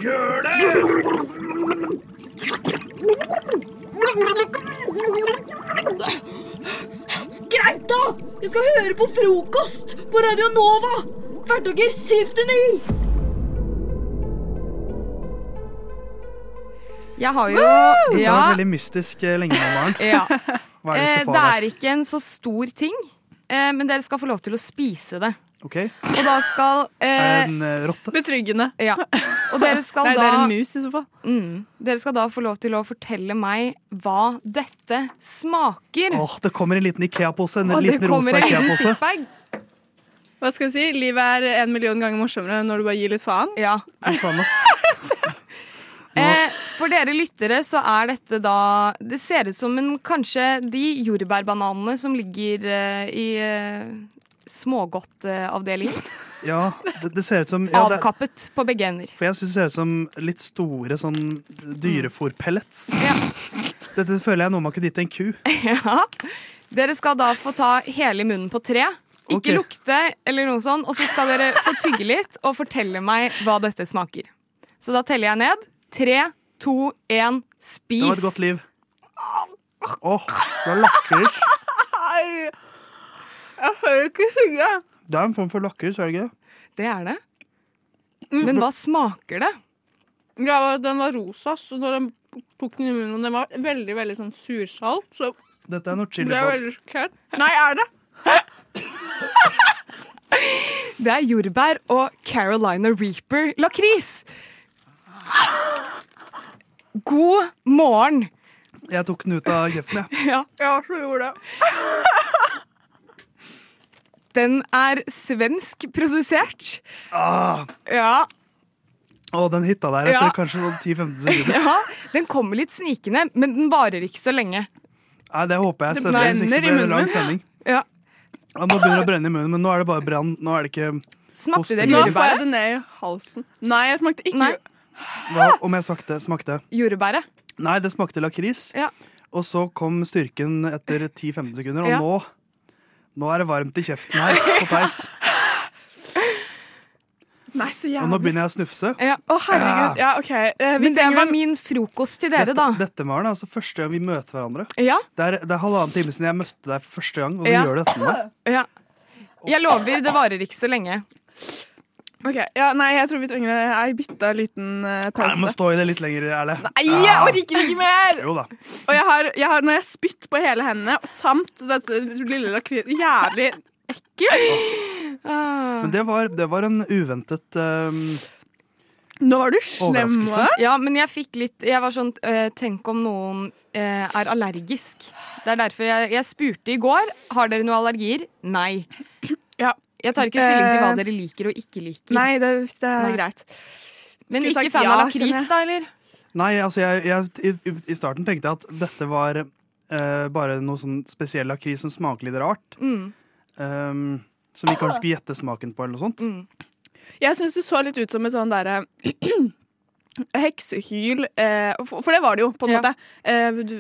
F: Gjør det!
M: Greit, da! Jeg skal høre på frokost på Radio Nova! Hverdager 7 til 9!
J: Jeg har jo
E: Dette
J: ja,
E: var veldig mystisk eh, lenge nå, Maren.
J: Ja.
E: Hva er
J: eh,
E: det vi skal få
J: det
E: av her?
J: er ikke en så stor ting, eh, men dere skal få lov til å spise det.
E: Ok? Er
J: Og da skal
E: det
J: eh,
E: En eh, rotte?
J: Betryggende. Ja. Og dere skal
I: Nei,
J: da
I: det er en mus i så fall.
J: Mm, dere skal da få lov til å fortelle meg hva dette smaker.
E: Åh, det kommer en liten Ikea-pose. En
J: Og det
E: liten
J: kommer
E: rosa
J: en liten
E: Ikea-pose.
J: zipbag.
I: Hva skal vi si? Livet er en million ganger morsommere når du bare gir litt faen?
J: Ja.
E: Fy faen, ass.
J: Eh, for dere lyttere så er dette da Det ser ut som en, kanskje de jordbærbananene som ligger eh, i eh, smågodtavdelingen.
E: Ja, det, det ser ut som ja, det,
J: Avkappet på begge ender.
E: For jeg syns det ser ut som litt store sånn dyrefòrpellets.
J: Mm.
E: Dette føler jeg er noe man kunne gitt til en ku.
J: Ja. Dere skal da få ta hele munnen på tre. Ikke
E: Ok.
J: lukte eller noe sånt. Og så skal dere få tygge litt og fortelle meg hva dette smaker. Så da teller jeg ned. Tre, to, én, spis.
E: Det var et godt liv. Åh, du har lakris.
I: Jeg hører ikke synge.
E: Det er en form for lakris, er det ikke det?
J: Det er det.
I: Mm.
J: Men hva smaker det?
I: Ja, den var rosa, så når den tok den i munnen, og den var veldig, veldig sånn sursalt, så
E: Dette er noe
I: ble
E: chili
I: jeg
E: folk.
I: veldig sjokkert. Nei, er det?
J: Det er jordbær og Carolina Reaper lakris. God morgen.
E: Jeg tok den ut av kjeften, jeg.
J: Ja.
I: Ja, så gjorde det.
J: Den er svensk produsert.
E: Ah,
J: Ja.
E: å, den hitta der
J: Ja.
E: etter kanskje sånn 10-15 sekunder.
J: ja. Den kommer litt snikende, men den varer ikke så lenge.
E: Nei, det håper jeg
J: Det
E: stemmer. Hvis ikke så
J: brenner i
E: blir det lang
J: munnen.
E: sending.
J: Ja.
E: Ja, nå begynner det å brenne i munnen, men nå er det bare brann. Nå er det ikke
J: Smakte det
E: Hosting.
I: Nå får jeg
J: jordbæret?
I: det ned i halsen. Nei, jeg smakte ikke
J: Nei.
E: Hva om jeg smakte? Smakte?
J: Jordbæret.
E: Nei, det smakte lakris.
J: Ja.
E: Og så kom styrken etter 10-15 sekunder, og
J: Ja.
E: nå Nå er det varmt i kjeften her på Theis.
I: Nei, så
E: Og nå begynner jeg å snufse.
I: Ja, å, herregud. Ja, ok. Eh, vi
J: Men det
I: trenger
J: var
I: vel-
J: min frokost til dere, da.
E: Dette Maren, er altså første gang vi møter hverandre.
J: Ja.
E: Det er, det er halvannen time siden jeg møtte deg for første gang, og du
J: Ja.
E: gjør dette med meg.
J: Ja. Jeg lover, det varer ikke så lenge.
I: Ok, ja, Nei, jeg tror vi trenger ei bitte liten eh,
E: Nei,
I: pause.
E: Jeg må stå i det litt lenger, Erle.
I: Nei, jeg orker ikke mer!
E: Jo da.
I: Og jeg har, jeg har, når jeg har spytt på hele hendene, samt dette lille lakris Jævlig ekkelt.
J: Ah.
E: Men det var, det var en uventet ehm,
I: Nå var du
E: slem, Overraskelse. hva?
J: Ja, men jeg fikk litt Jeg var sånn øh, Tenk om noen øh, er allergisk. Det er derfor jeg, jeg spurte i går Har dere noen allergier. Nei. Jeg tar ikke stilling til hva dere liker og ikke liker.
I: Nei, det, det er
J: Nei.
I: greit.
J: Men
I: Skulle
J: ikke
I: sagt
J: fan
I: ja,
J: av lakris,
I: skjønner jeg.
J: da, eller?
E: Nei, altså jeg, jeg, i, i starten tenkte jeg at dette var eh, bare noe sånn spesiell lakris som smaker litt rart.
J: Mm.
E: ehm, som vi kanskje skulle gjette smaken på, eller noe sånt.
I: Mm. Jeg syns du så litt ut som et sånn derre Heksehyl. Eh, for, for det var det jo, på en måte. Eh, du,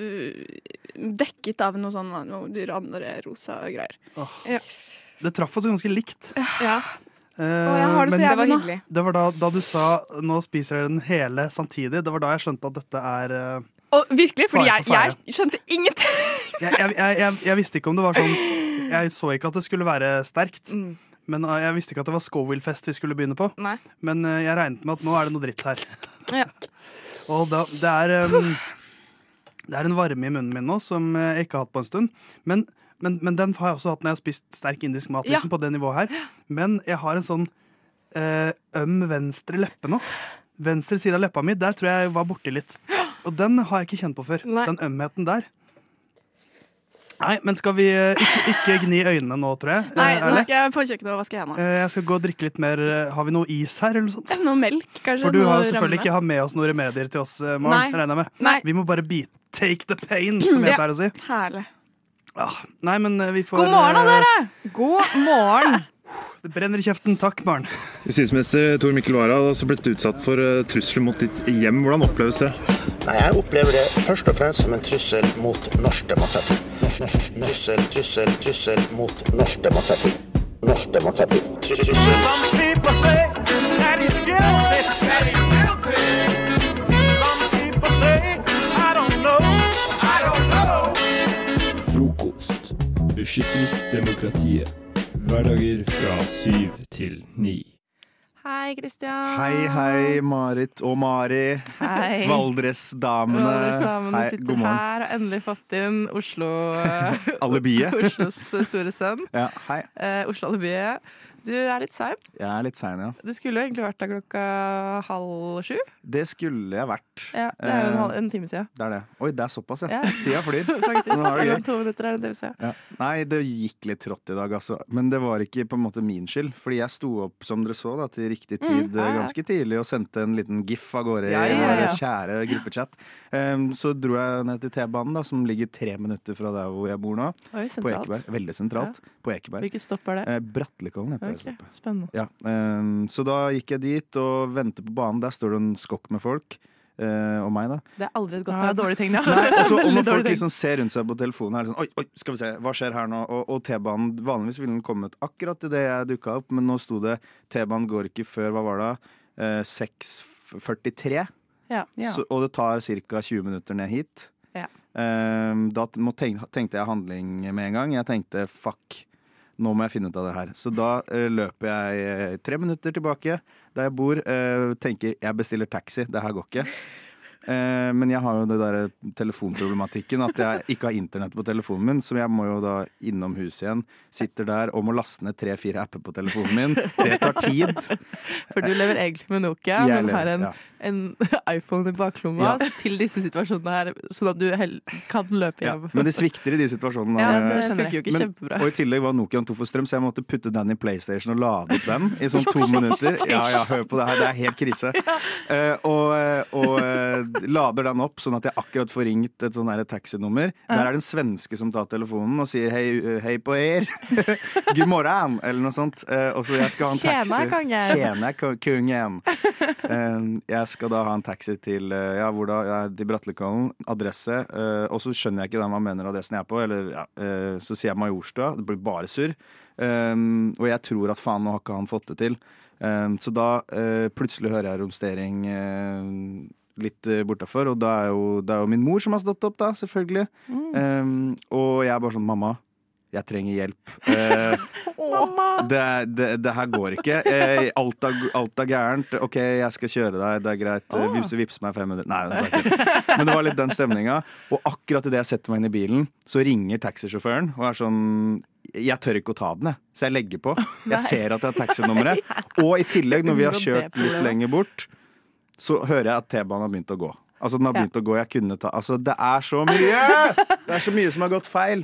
I: dekket av noe sånn noe andre rosa greier.
E: Åh.
I: Ja.
E: Det traff oss ganske likt. Eh,
I: jeg har det så jævlig
E: men-
I: Det var nå. hyggelig.
E: Det var da, da du sa 'nå spiser dere den hele samtidig', det var da jeg skjønte at dette er eh,
I: Og virkelig, fordi
E: Fare
I: jeg,
E: på ferde.
I: jeg skjønte ingenting.
E: jeg, jeg, jeg, jeg, jeg visste ikke om det var sånn Jeg så ikke at det skulle være sterkt.
J: Mm.
E: Men eh, jeg visste ikke at det var Scoville-fest vi skulle begynne på.
J: Nei.
E: Men eh, jeg regnet med at nå er det noe dritt her.
J: Ja.
E: Og da, det er um, Det er en varme i munnen min nå som eh, jeg ikke har hatt på en stund. Men, men, men den har jeg også hatt når jeg har spist sterk indisk mat.
J: Ja.
E: Liksom, på det nivået her Men jeg har en sånn eh, øm venstre leppe nå. Venstre side av leppa mi, der tror jeg jeg var borti litt. Og den har jeg ikke kjent på før. Den ømheten der. Nei, men skal vi eh, ikke, ikke gni øynene nå, tror jeg. eh,
I: Nei, nå
E: Erle?
I: skal jeg på kjøkkenet og vaske hendene.
E: Eh, Jeg skal gå og drikke litt mer. eh, Har vi noe is her, eller noe sånt?
I: Noe melk, kanskje?
E: For du har
I: Noe
E: jo selvfølgelig
I: rømme.
E: ikke hatt med oss noen remedier til oss, eh,
I: Nei.
E: Maren. regner jeg med.
I: Nei.
E: Vi må bare be take the pain, som jeg
I: Ja.
E: pleier å si.
I: Herlig.
E: Ah, nei, men eh, vi får
I: God morgen, da,
E: eh,
I: dere!
J: God morgen.
E: Det brenner i kjeften. Takk, Maren.
L: Justisminister Tor Mikkel Wara har også blitt utsatt for eh, trusler mot ditt hjem. Hvordan oppleves det?
N: Nei, Jeg opplever det først og fremst som en trussel mot norsk demokrati. Trussel, trussel, trussel mot norsk demokrati. Norsk demokrati. Trussel.
O: Frokost. Beskytter demokratiet. Hverdager fra syv til ni.
H: Hei, Kristian.
C: Hei, hei, Marit og Mari.
P: Hei.
C: Valdresdamene.
P: Valdresdamene
C: Hei,
P: sitter
C: god morgen.
P: her og endelig fått inn Oslo eh,
C: Alibiet.
P: Oslos eh, store sønn.
C: Ja, hei.
P: Eh, Oslo-alibiet. Du er litt sein.
C: Jeg er litt sein, ja.
P: Du skulle jo egentlig vært der klokka halv sju.
C: Det skulle jeg vært.
P: Ja, det er jo en, halv,
C: Eh,
P: en time siden.
C: Det er det. Oi, det er såpass, ja.
P: Ja.
C: Tida flyr.
P: Faktisk.
C: Nå har det
P: Eller
C: gøy.
P: om to minutter er det en time siden.
C: Ja. Nei, det gikk litt trått i dag, altså. Men det var ikke på en måte min skyld. Fordi jeg sto opp, som dere så, da, til riktig
P: Mm,
C: tid
P: ja,
C: eh,
P: ja.
C: ganske tidlig og sendte en liten gif av gårde
P: Ja,
C: i
P: ja,
C: vår
P: ja.
C: kjære gruppechat. Em, så dro jeg ned til T-banen, da, som ligger tre minutter fra der hvor jeg bor nå.
P: Oi,
C: på
P: sentralt.
C: Ekeberg. Veldig sentralt. På Ekeberg.
P: Hvilket stopp er det?
C: Eh, Bratlekollen heter det.
P: Ok,
C: stoppet.
P: Spennende.
C: Ja, em, så da gikk jeg dit og ventet på banen. Der står det en skokk med folk. eh, og meg, da.
P: Det er aldri et godt tegn. Dårlig tegn, ja.
C: Nei, også, og
P: Veldig
C: når
P: dårlig
C: folk
P: tegn.
C: liksom ser rundt seg på telefonen, er det sånn Oi, oi, skal vi se, hva skjer her nå? Og, og T-banen Vanligvis ville den kommet akkurat idet jeg dukka opp, men nå sto det T-banen går ikke før, hva var det, da? Eh, 6.43.
P: Ja. Ja.
C: Så- Og det tar ca. 20 minutter ned hit.
P: Ja.
C: Eh, da t- må tenk, tenkte jeg handling med en gang. Jeg tenkte fuck, nå må jeg finne ut av det her. Så da eh, løper jeg eh, tre minutter tilbake der jeg bor. eh, tenker jeg bestiller taxi, det her går ikke. Eh, men jeg har jo det der eh, telefonproblematikken at jeg ikke har internett på telefonen min, så jeg må jo da innom huset igjen. Sitter der og må laste ned tre-fire apper på telefonen min. Det tar tid.
P: For du lever egentlig med Nokia,
C: Jeg
P: men
C: lever,
P: har en,
C: ja.
P: en iPhone i baklomma til disse situasjonene her, sånn at du hell kan løpe
C: Ja,
P: hjem.
C: men det svikter i de situasjonene.
P: Ja,
C: da.
P: det skjønner jeg. Funker jo ikke
C: Men-
P: kjempebra.
C: Og i tillegg var Nokian tom for strøm, så jeg måtte putte den i PlayStation og lade opp den i sånn to minutter. Ja, ja, hør på det her, det er helt krise. Eh, og og eh, lader den opp, sånn at jeg akkurat får ringt et sånn her taxinummer.
I: Ja.
C: Der er det en svenske som tar telefonen og sier hei, eh, hei på er. God morgen, eller noe sånt. Eh, Og så jeg skal ha en
P: Tjena,
C: taxi.
P: kongen.
C: Tjena, ko- kongen. Eh, Jeg skal da ha en taxi til, eh, ja, hvor da, ja, til Brattelikollen. Adresse. eh, Og så skjønner jeg ikke den man mener adressen jeg er på, eller ja, eh, så sier jeg Majorstua. Det blir bare surr. Um, og jeg tror at faen, nå har ikke han fått det til. Um, så da eh, plutselig hører jeg romstering eh, litt uh, bortafor, og da er jo, det er jo min mor som har stått opp, da, selvfølgelig. Um, og jeg er bare sånn Mamma, jeg trenger hjelp. Eh, det, det, det her går ikke. Eh, alt, er, alt er gærent. OK, jeg skal kjøre deg, det er greit. Eh, Vips, vips meg 500 Nei, det er ikke. men det var litt den stemninga. Og akkurat idet jeg setter meg inn i bilen, så ringer taxisjåføren og er sånn jeg tør ikke å ta den, jeg. så jeg legger på.
Q: Nei.
C: Jeg ser at jeg har taxinummeret. Og i tillegg, når vi har
Q: Unngå det
C: kjørt litt
Q: problemet.
C: lenger bort, så hører jeg at T-banen har begynt å gå. Altså, den har
Q: Ja.
C: begynt å gå. Jeg kunne ta Altså, det er så mye! Det er så mye som har gått feil.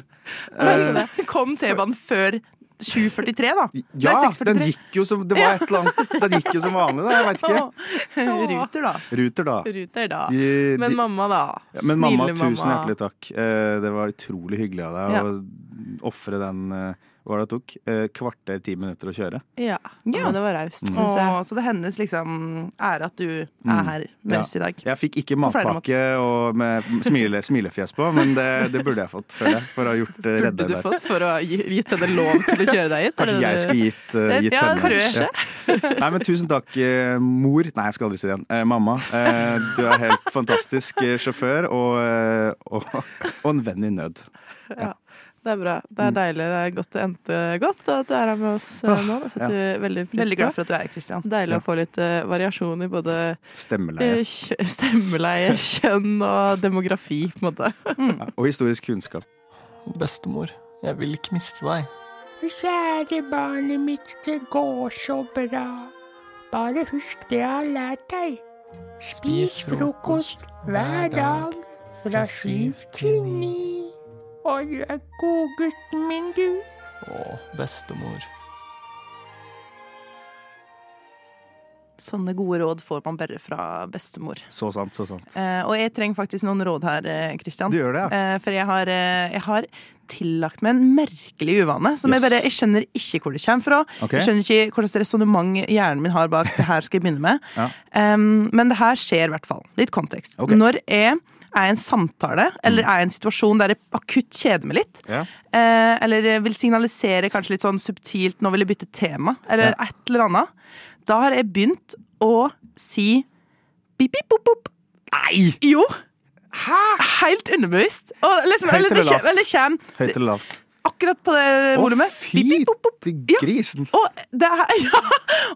P: Jeg
C: eh,
P: skjønner. Kom T-banen før 7.43, da?
C: Ja,
P: Nei,
C: den
P: 6.43.
C: gikk jo som Det var et eller annet Den gikk jo som vanlig, da. Jeg veit ikke.
P: Ruter, da.
C: Ruter, da.
P: Ruter, da.
C: De- de-
P: Men mamma, da.
C: Ja, men mamma,
P: Snille
C: tusen
P: mamma.
C: hjertelig takk. Eh, Det var utrolig hyggelig av deg å ofre den eh, Hva var det det tok? Eh, Kvarter, ti minutter å kjøre.
P: Ja,
C: Ja.
P: men det var raust,
C: Mm.
P: syns jeg. Så det er hennes liksom, ære at du er
C: Mm.
P: her med oss i dag.
C: Jeg fikk ikke
P: På flere
C: matpakke og med smile, smilefjes på, men det, det burde jeg fått, føler jeg. For å ha gjort eh, redde
P: Burde du
C: der.
P: fått for å ha gi- gitt henne lov til å kjøre deg hit?
C: Kanskje jeg skulle gitt, eh, gitt
P: ja,
C: henne
P: Kanskje.
C: Ja. Nei, men tusen takk, eh, mor. Nei, jeg skal aldri si det igjen. Eh, mamma, eh, du er helt fantastisk eh, sjåfør og, eh, og, og en venn i nød.
P: Ja. Det er bra. Det
C: Mm.
P: er deilig. Det er godt det endte godt, og at du er her med oss eh, nå. Det setter
C: Ja.
P: vi veldig pris på.
C: Veldig glad for at du er her,
P: Kristian. Deilig å få litt eh, variasjon i både
C: Stemmeleie.
P: eh, kjø- stemmeleie, kjønn og demografi, på en måte.
C: Ja, og historisk kunnskap.
G: Bestemor, jeg vil ikke miste deg.
R: Kjære barnet mitt, det går så bra. Bare husk det jeg har lært deg. Spis frokost hver dag fra syv til ni. Å, du er godgutten min, du.
G: Å, bestemor.
P: Sånne gode råd får man bare fra bestemor.
C: Så sant, så sant.
P: Eh, og jeg trenger faktisk noen råd her, eh, Kristian.
C: Du gjør det, ja.
P: Eh, for jeg har, eh, jeg har tillagt meg en merkelig uvane. Som jeg
C: Yes.
P: bare jeg skjønner ikke hvor det kommer fra.
C: Ok.
P: Jeg skjønner ikke hva slags resonnement hjernen min har bak det her skal jeg begynne med.
C: Ja.
P: Em, men det her skjer i hvert fall. Litt kontekst. Når jeg er i en samtale eller
C: Mm.
P: er i en situasjon der jeg akutt kjeder meg litt,
C: Ja.
P: eh, eller vil signalisere kanskje litt sånn subtilt 'nå vil jeg bytte tema', eller et eller annet, da har jeg begynt å si pip, pip, pop, pop.
C: Nei!
P: Jo! Helt underbevisst. Og liksom,
C: Høyt
P: eller, det
C: eller lavt?
P: kjem, eller kjem
C: Høyt eller lavt?
P: akkurat på det volumet.
C: fy til grisen!
P: Og det, er, ja,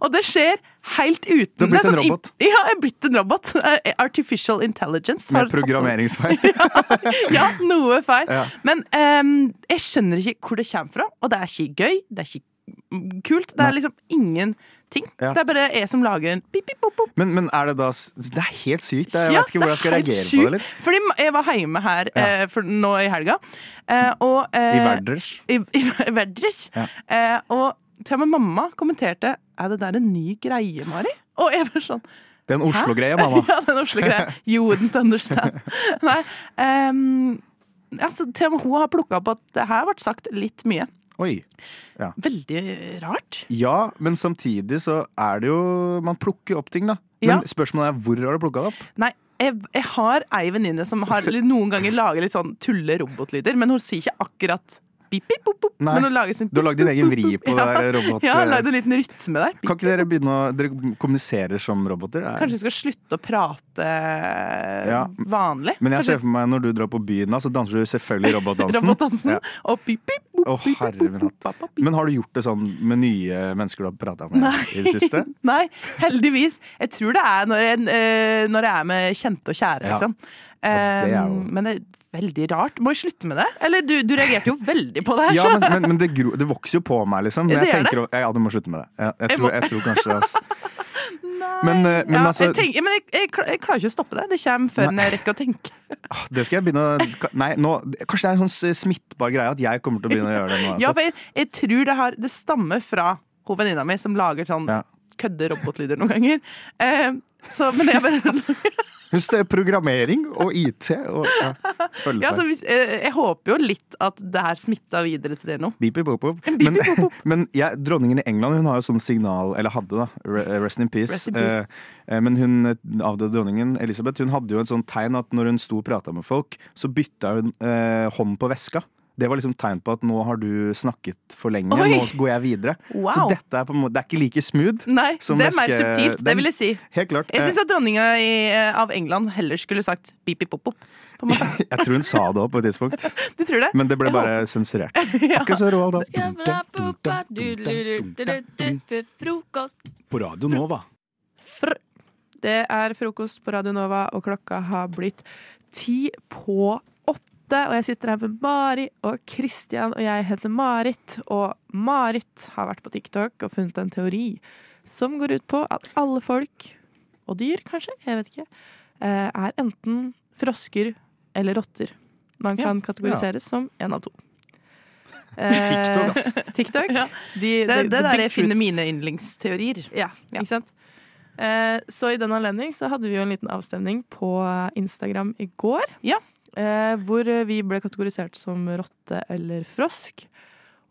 P: og det skjer helt uten
C: Du har blitt
P: det er
C: en
P: sånn in-
C: robot.
P: Ja, jeg er blitt en robot. Eh, Artificial intelligence. har
C: Med
P: tatt over.
C: programmeringsfeil.
P: Ja, noe feil.
C: Ja.
P: Men ehm, jeg skjønner ikke hvor det kommer fra, og det er ikke gøy. Det er ikke kult. Det er liksom ingenting.
C: Ja.
P: Det er bare jeg som lager en pip, pip, pop, pop.
C: Men, men er det da s- Det er helt sykt. Jeg
P: Ja,
C: vet ikke hvordan jeg skal
P: det er
C: reagere
P: helt
C: på det.
P: sjukt.
C: Litt.
P: Fordi jeg var hjemme her eh, for, nå i helga. eh, og, eh,
C: I Verders.
P: I, i, i Verders.
C: Ja.
P: Eh, og til og med mamma kommenterte Er det der en ny greie, Mari? Og jeg var sånn
C: Det er en
P: «Hæ?»
C: Oslo-greie, mamma.
P: ja, det er en Oslo-greie. You wouldn't understand. Nei, ehm, altså, til og med hun har plukka opp at det her ble sagt litt mye.
C: Oi. Ja.
P: Veldig rart.
C: ja, men samtidig så er det jo Man plukker opp ting, da. Men
P: Ja.
C: spørsmålet er hvor har du plukka det opp?
P: Nei, jeg, jeg har ei venninne som har litt- noen ganger lager litt sånn tulle robotlyder, men hun sier ikke akkurat bip, bip, bop, bop.
C: Nei.
P: Men hun lager sånn
C: Du har lagd din egen vri på det der robot... eh.
P: Ja, lagd en liten rytme der.
C: Kan ikke dere begynne å Dere kommuniserer som roboter? Det er-
P: Kanskje jeg skal slutte å prate eh,
C: Ja.
P: vanlig?
C: Men jeg ser
P: Kanskje-
C: for meg når du drar på byen, da, så danser du selvfølgelig robotdansen.
P: Robotdansen,
C: Og herre min hatt. Men har du gjort det sånn med nye mennesker du har prata med i det siste?
P: Nei, heldigvis. Jeg tror det er når jeg, eh, når jeg er med kjente og kjære,
C: Ja.
P: liksom.
C: er jo-
P: Um, men det er veldig rart. Må jeg slutte med det? Eller du, du reagerte jo veldig på det her.
C: Ja,
P: så-
C: men, men, men det, gro, det vokser jo på meg, liksom. Men
P: Det
C: jeg
P: gjør
C: tenker, å- ja, du må slutte med det. Jeg, jeg,
P: Jeg
C: tror,
P: må-
C: jeg tror kanskje det. ass. Men, eh, men
P: ja,
C: altså,
P: jeg, tenker, men jeg, jeg, kla- jeg klarer ikke å stoppe det. Det kommer før jeg rekker å tenke.
C: det skal jeg begynne å Nei, nå, kanskje det er en sånn s- smittbar greie at jeg altså- kommer til å begynne å gjøre det nå.
P: Ja,
C: altså.
P: for jeg, jeg tror det, har, det stammer fra hun venninna mi som lager sånn
S: kødde robotlyder noen ganger. Eh,
P: Ehm,
S: så, men jeg bare
C: Husk det er programmering og IT og ja, følgefeil.
S: ja, så hvis, eh, Jeg håper jo litt at det her smitta videre til dere nå.
C: Beepy bop bop. Men, men jeg- dronningen i England hun har jo sånn signal Eller hadde, da. re- eh, Rest in peace.
S: Rest in peace.
C: Eh, eh, men hun eh, avdøde dronningen Elisabeth Hun hadde jo et sånt tegn at når hun sto og prata med folk, så bytta hun eh, hånd på veska. Det var liksom tegn på at nå har du snakket for lenge,
S: Oi!
C: nå går jeg videre.
S: Wow.
C: Så dette er på en måte Det er ikke like smooth.
S: Nei,
C: som
S: det er mer
C: veske-
S: subtilt, det
C: den-
S: vil jeg si.
C: Helt klart.
S: Jeg syns
C: Eh,
S: at dronninga i, eh, av England heller skulle sagt pip-pip-pop-pop.
C: jeg tror hun sa det òg på et tidspunkt,
S: Du tror det?
C: men det ble bare sensurert. Akkurat så Roald Dahl.
P: Frokost.
C: På Radio Nova.
S: Fr.
P: Det er frokost på Radio Nova, og klokka har blitt ti på åtte. Og jeg sitter her med Mari og Kristian, og jeg heter Marit. Og Marit har vært på TikTok og funnet en teori som går ut på at alle folk, og dyr kanskje, jeg vet ikke, eh, er enten frosker eller rotter. Man
S: Ja.
P: kan kategoriseres
S: Ja.
P: som én av to.
S: TikTok, ass.
P: Eh, TikTok.
S: Ja.
P: De-
S: Det er-
P: the-
S: det er
P: the
S: der
P: big
S: jeg finner
P: truths.
S: mine yndlingsteorier.
P: Ja, ikke sant? Eh, så i den anledning så hadde vi jo en liten avstemning på Instagram i går. Eh, hvor vi ble kategorisert som rotte eller frosk.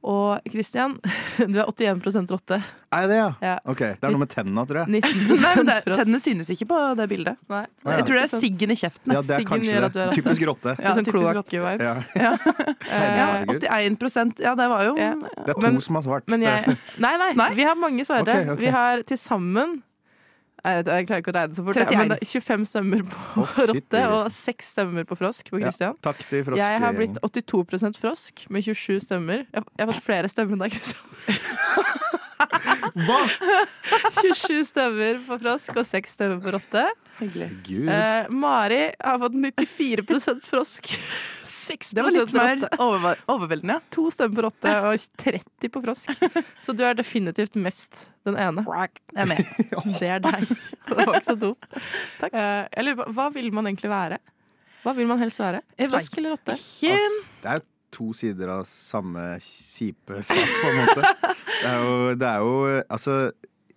P: Og Christian, du er 81 rotte.
C: Er det, ja?
P: Ja.
C: Ok, Det er noe med tennene, tror jeg.
P: 19
S: Nei, men det,
P: frosk.
S: tennene synes ikke på det bildet.
C: Nei,
S: Jeg tror det
C: ikke
S: er
C: sant.
S: siggen i kjeften.
C: Ja, det er
S: Siggen
C: kanskje
S: gjør
C: det.
S: at du er
C: Typisk rotte.
S: Ja,
C: Sånn
S: typisk
C: kloakk.
S: rotte-vibes.
C: Ja.
P: Eh,
S: Ja.
C: Tegnefarger.
S: Eh, 81 Ja, det var jo
C: Det er to som har svart.
P: Men jeg, nei, nei, vi har mange svarere.
S: Ok, ok.
P: Vi har til sammen jeg, vet, jeg klarer ikke å regne så fort,
S: 31.
P: men det er 25 stemmer på
C: Å, fytti
P: rotte og
C: grisen.
P: 6 stemmer på frosk. På
C: Ja,
P: Christian.
C: takk til
P: jeg har blitt 82
C: froskegjengen.
P: frosk med 27 stemmer. Jeg, jeg har fått flere stemmer enn deg, Christian. Hva?! 27 stemmer på frosk og 6 stemmer på rotte.
C: Herregud.
P: Eh, Mari har fått 94 frosk. 6
S: Det var litt mer
P: rotte.
S: overveldende, ja.
P: To stemmer på rotte og 30 på frosk. Så du er definitivt mest den ene. Jeg er med. Det er deg. Det var ikke så dumt. Takk. Jeg lurer på, hva vil man egentlig være? Hva vil man helst være? Frosk eller rotte?
C: Ass, det er to sider av samme kjipe sak, på en måte. Det er jo, det er jo Altså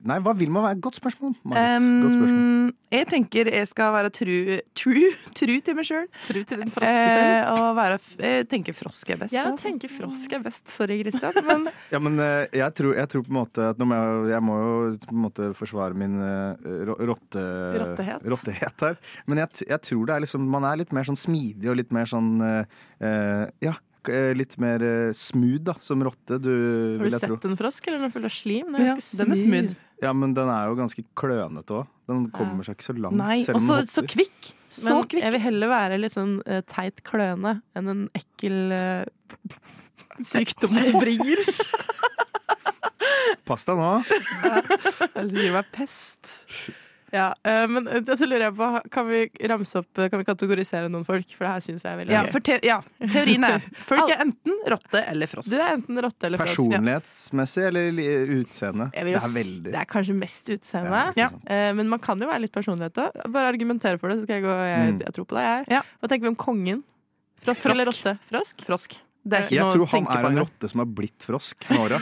C: Nei, hva vil man være? Godt spørsmål, Marit. Godt spørsmål.
S: Um, jeg tenker jeg skal være true, true, true til meg sjøl. True til din
P: froske selv.
S: og Eh, være, f- jeg tenker frosk er best.
P: Jeg
S: altså.
P: tenker frosk er best. Sorry, Kristian. Men
C: Ja, men eh, jeg tror, jeg tror på en måte at nå må jeg, jeg må jo på en måte forsvare min eh, ro- rotte,
P: Rottehet.
C: rottehet her. Men jeg, t- jeg tror det er liksom Man er litt mer sånn smidig og litt mer sånn eh, eh, Ja, k- eh, litt mer eh, smooth, da, som rotte. Du,
P: har
C: vil
P: du
C: jeg tro.
P: sett en frosk, eller den er full av slim?
S: Ja, den er smooth.
C: Ja, men den er jo ganske klønete òg. Den kommer seg ikke så langt.
P: Nei,
C: selv om
P: og
C: den
P: så-
C: hopper.
P: så kvikk. Men jeg vil heller være litt sånn eh, teit kløne enn en ekkel eh, sykdomsbringer.
C: Pass deg nå.
P: Eller så gir det meg pest. Ja, eh, men eh, så lurer jeg på, kan vi ramse opp, eh, kan vi kategorisere noen folk? For det her synes jeg er veldig
S: Ja,
P: gøy.
S: for te ja, teorien er folk er
P: enten rotte eller frosk. Du er enten rotte eller frosk. ja.
C: Personlighetsmessig eller li- utseende?
P: Jeg vil jo
C: det er
P: s-
C: veldig
P: det er kanskje mest utseende. Eh, Men man kan jo være litt personlighet òg. Bare argumentere for det, så skal jeg gå jeg,
C: Mm.
P: jeg tror på deg, jeg. Hva tenker vi om kongen? Frosk,
S: Frosk.
P: eller rotte? Frosk?
C: Jeg tror han er en rotte som har blitt frosk med åra.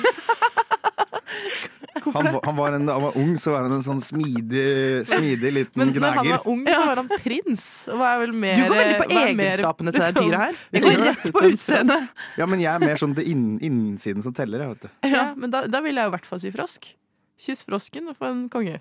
C: Han, var- han, var en- han var ung, så var han en sånn smidig, smidig liten
P: Men når han
C: gnager.
P: var ung, så var han prins. Og hva er vel mer,
S: Du går veldig på
P: hva er mer,
S: egenskapene til det
P: liksom-
S: dyret her.
P: Jeg går rett på utseendet.
C: Ja, men jeg er mer sånn det innen, innsiden som teller, jeg, vet du.
P: Ja, men da, da vil jeg i hvert fall si frosk. Kyss frosken og få en konge.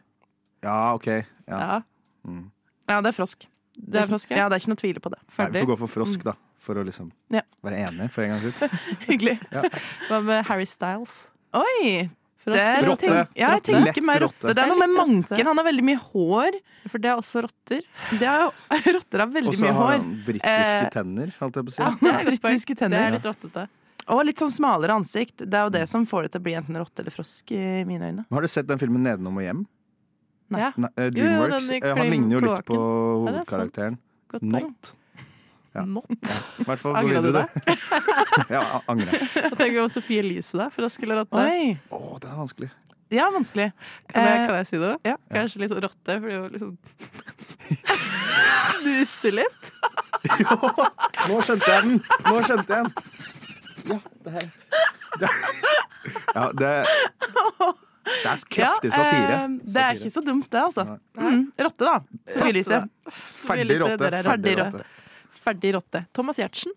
C: Ja, OK. Ja.
P: Ja.
C: Mm.
S: Ja, det er frosk.
P: Det er frosk, ja.
S: ja. Det er ikke noe tvil på det. Mm.
C: Nei, vi får gå for
P: Mm.
C: frosk, da. For å liksom
S: Ja.
C: være enige for en gangs skyld.
S: Hyggelig.
C: Ja.
P: Hva med Harry Styles?
S: Oi!
P: Frosk.
S: det er-
C: Rotte.
S: tenk- Ja, jeg
C: Rotte.
S: tenker meg
C: Lett
S: rotte.
C: rotte.
S: Det er noe med
P: Jeg likte rotte.
S: manken. Han har veldig mye hår.
P: For det er også rotter.
S: Det er jo, rotter har
C: Og
S: veldig
C: så
S: mye
C: har
S: hår. Eh,
C: han britiske tenner, holdt jeg på å si.
S: Ja, det er britiske tenner.
P: Det er litt rottete.
S: Og litt sånn smalere ansikt. Det er jo det som får det til å bli enten rotte eller frosk i mine øyne.
C: Har du sett den filmen 'Nedenom og hjem'?
P: Nei.
C: Nei,
S: Jo,
C: eh,
S: jo,
C: Dreamworks.
S: den i
C: Eh, han ligner jo litt på
S: kloakken. Ja, det er sant.
C: hovedkarakteren.
S: Godt poeng.
C: Not. Ja.
P: Not.
C: I hvert fall
P: Angrer
C: angrer
P: du
C: du det. ja, angrer.
P: Hva tenker vi om Sophie Elise, da? Frosk eller rotte?
S: Oi.
C: Å, det er vanskelig.
S: Ja, vanskelig.
P: Kan jeg,
S: Eh,
P: kan jeg si det? Kanskje litt rotte, for det er jo liksom Snuse litt.
C: Nå skjønte jeg den! Nå skjønte jeg den! Ja, det her. Det, ja, det Det er kraftig satire.
P: Ja, eh, det er ikke så dumt, det, altså. Mm, rotte, da. Sofielise.
C: Ferdig rotte, ferdig
P: Ferdig
C: rotte.
P: rotte. Ferdig rotte. Thomas Giertsen.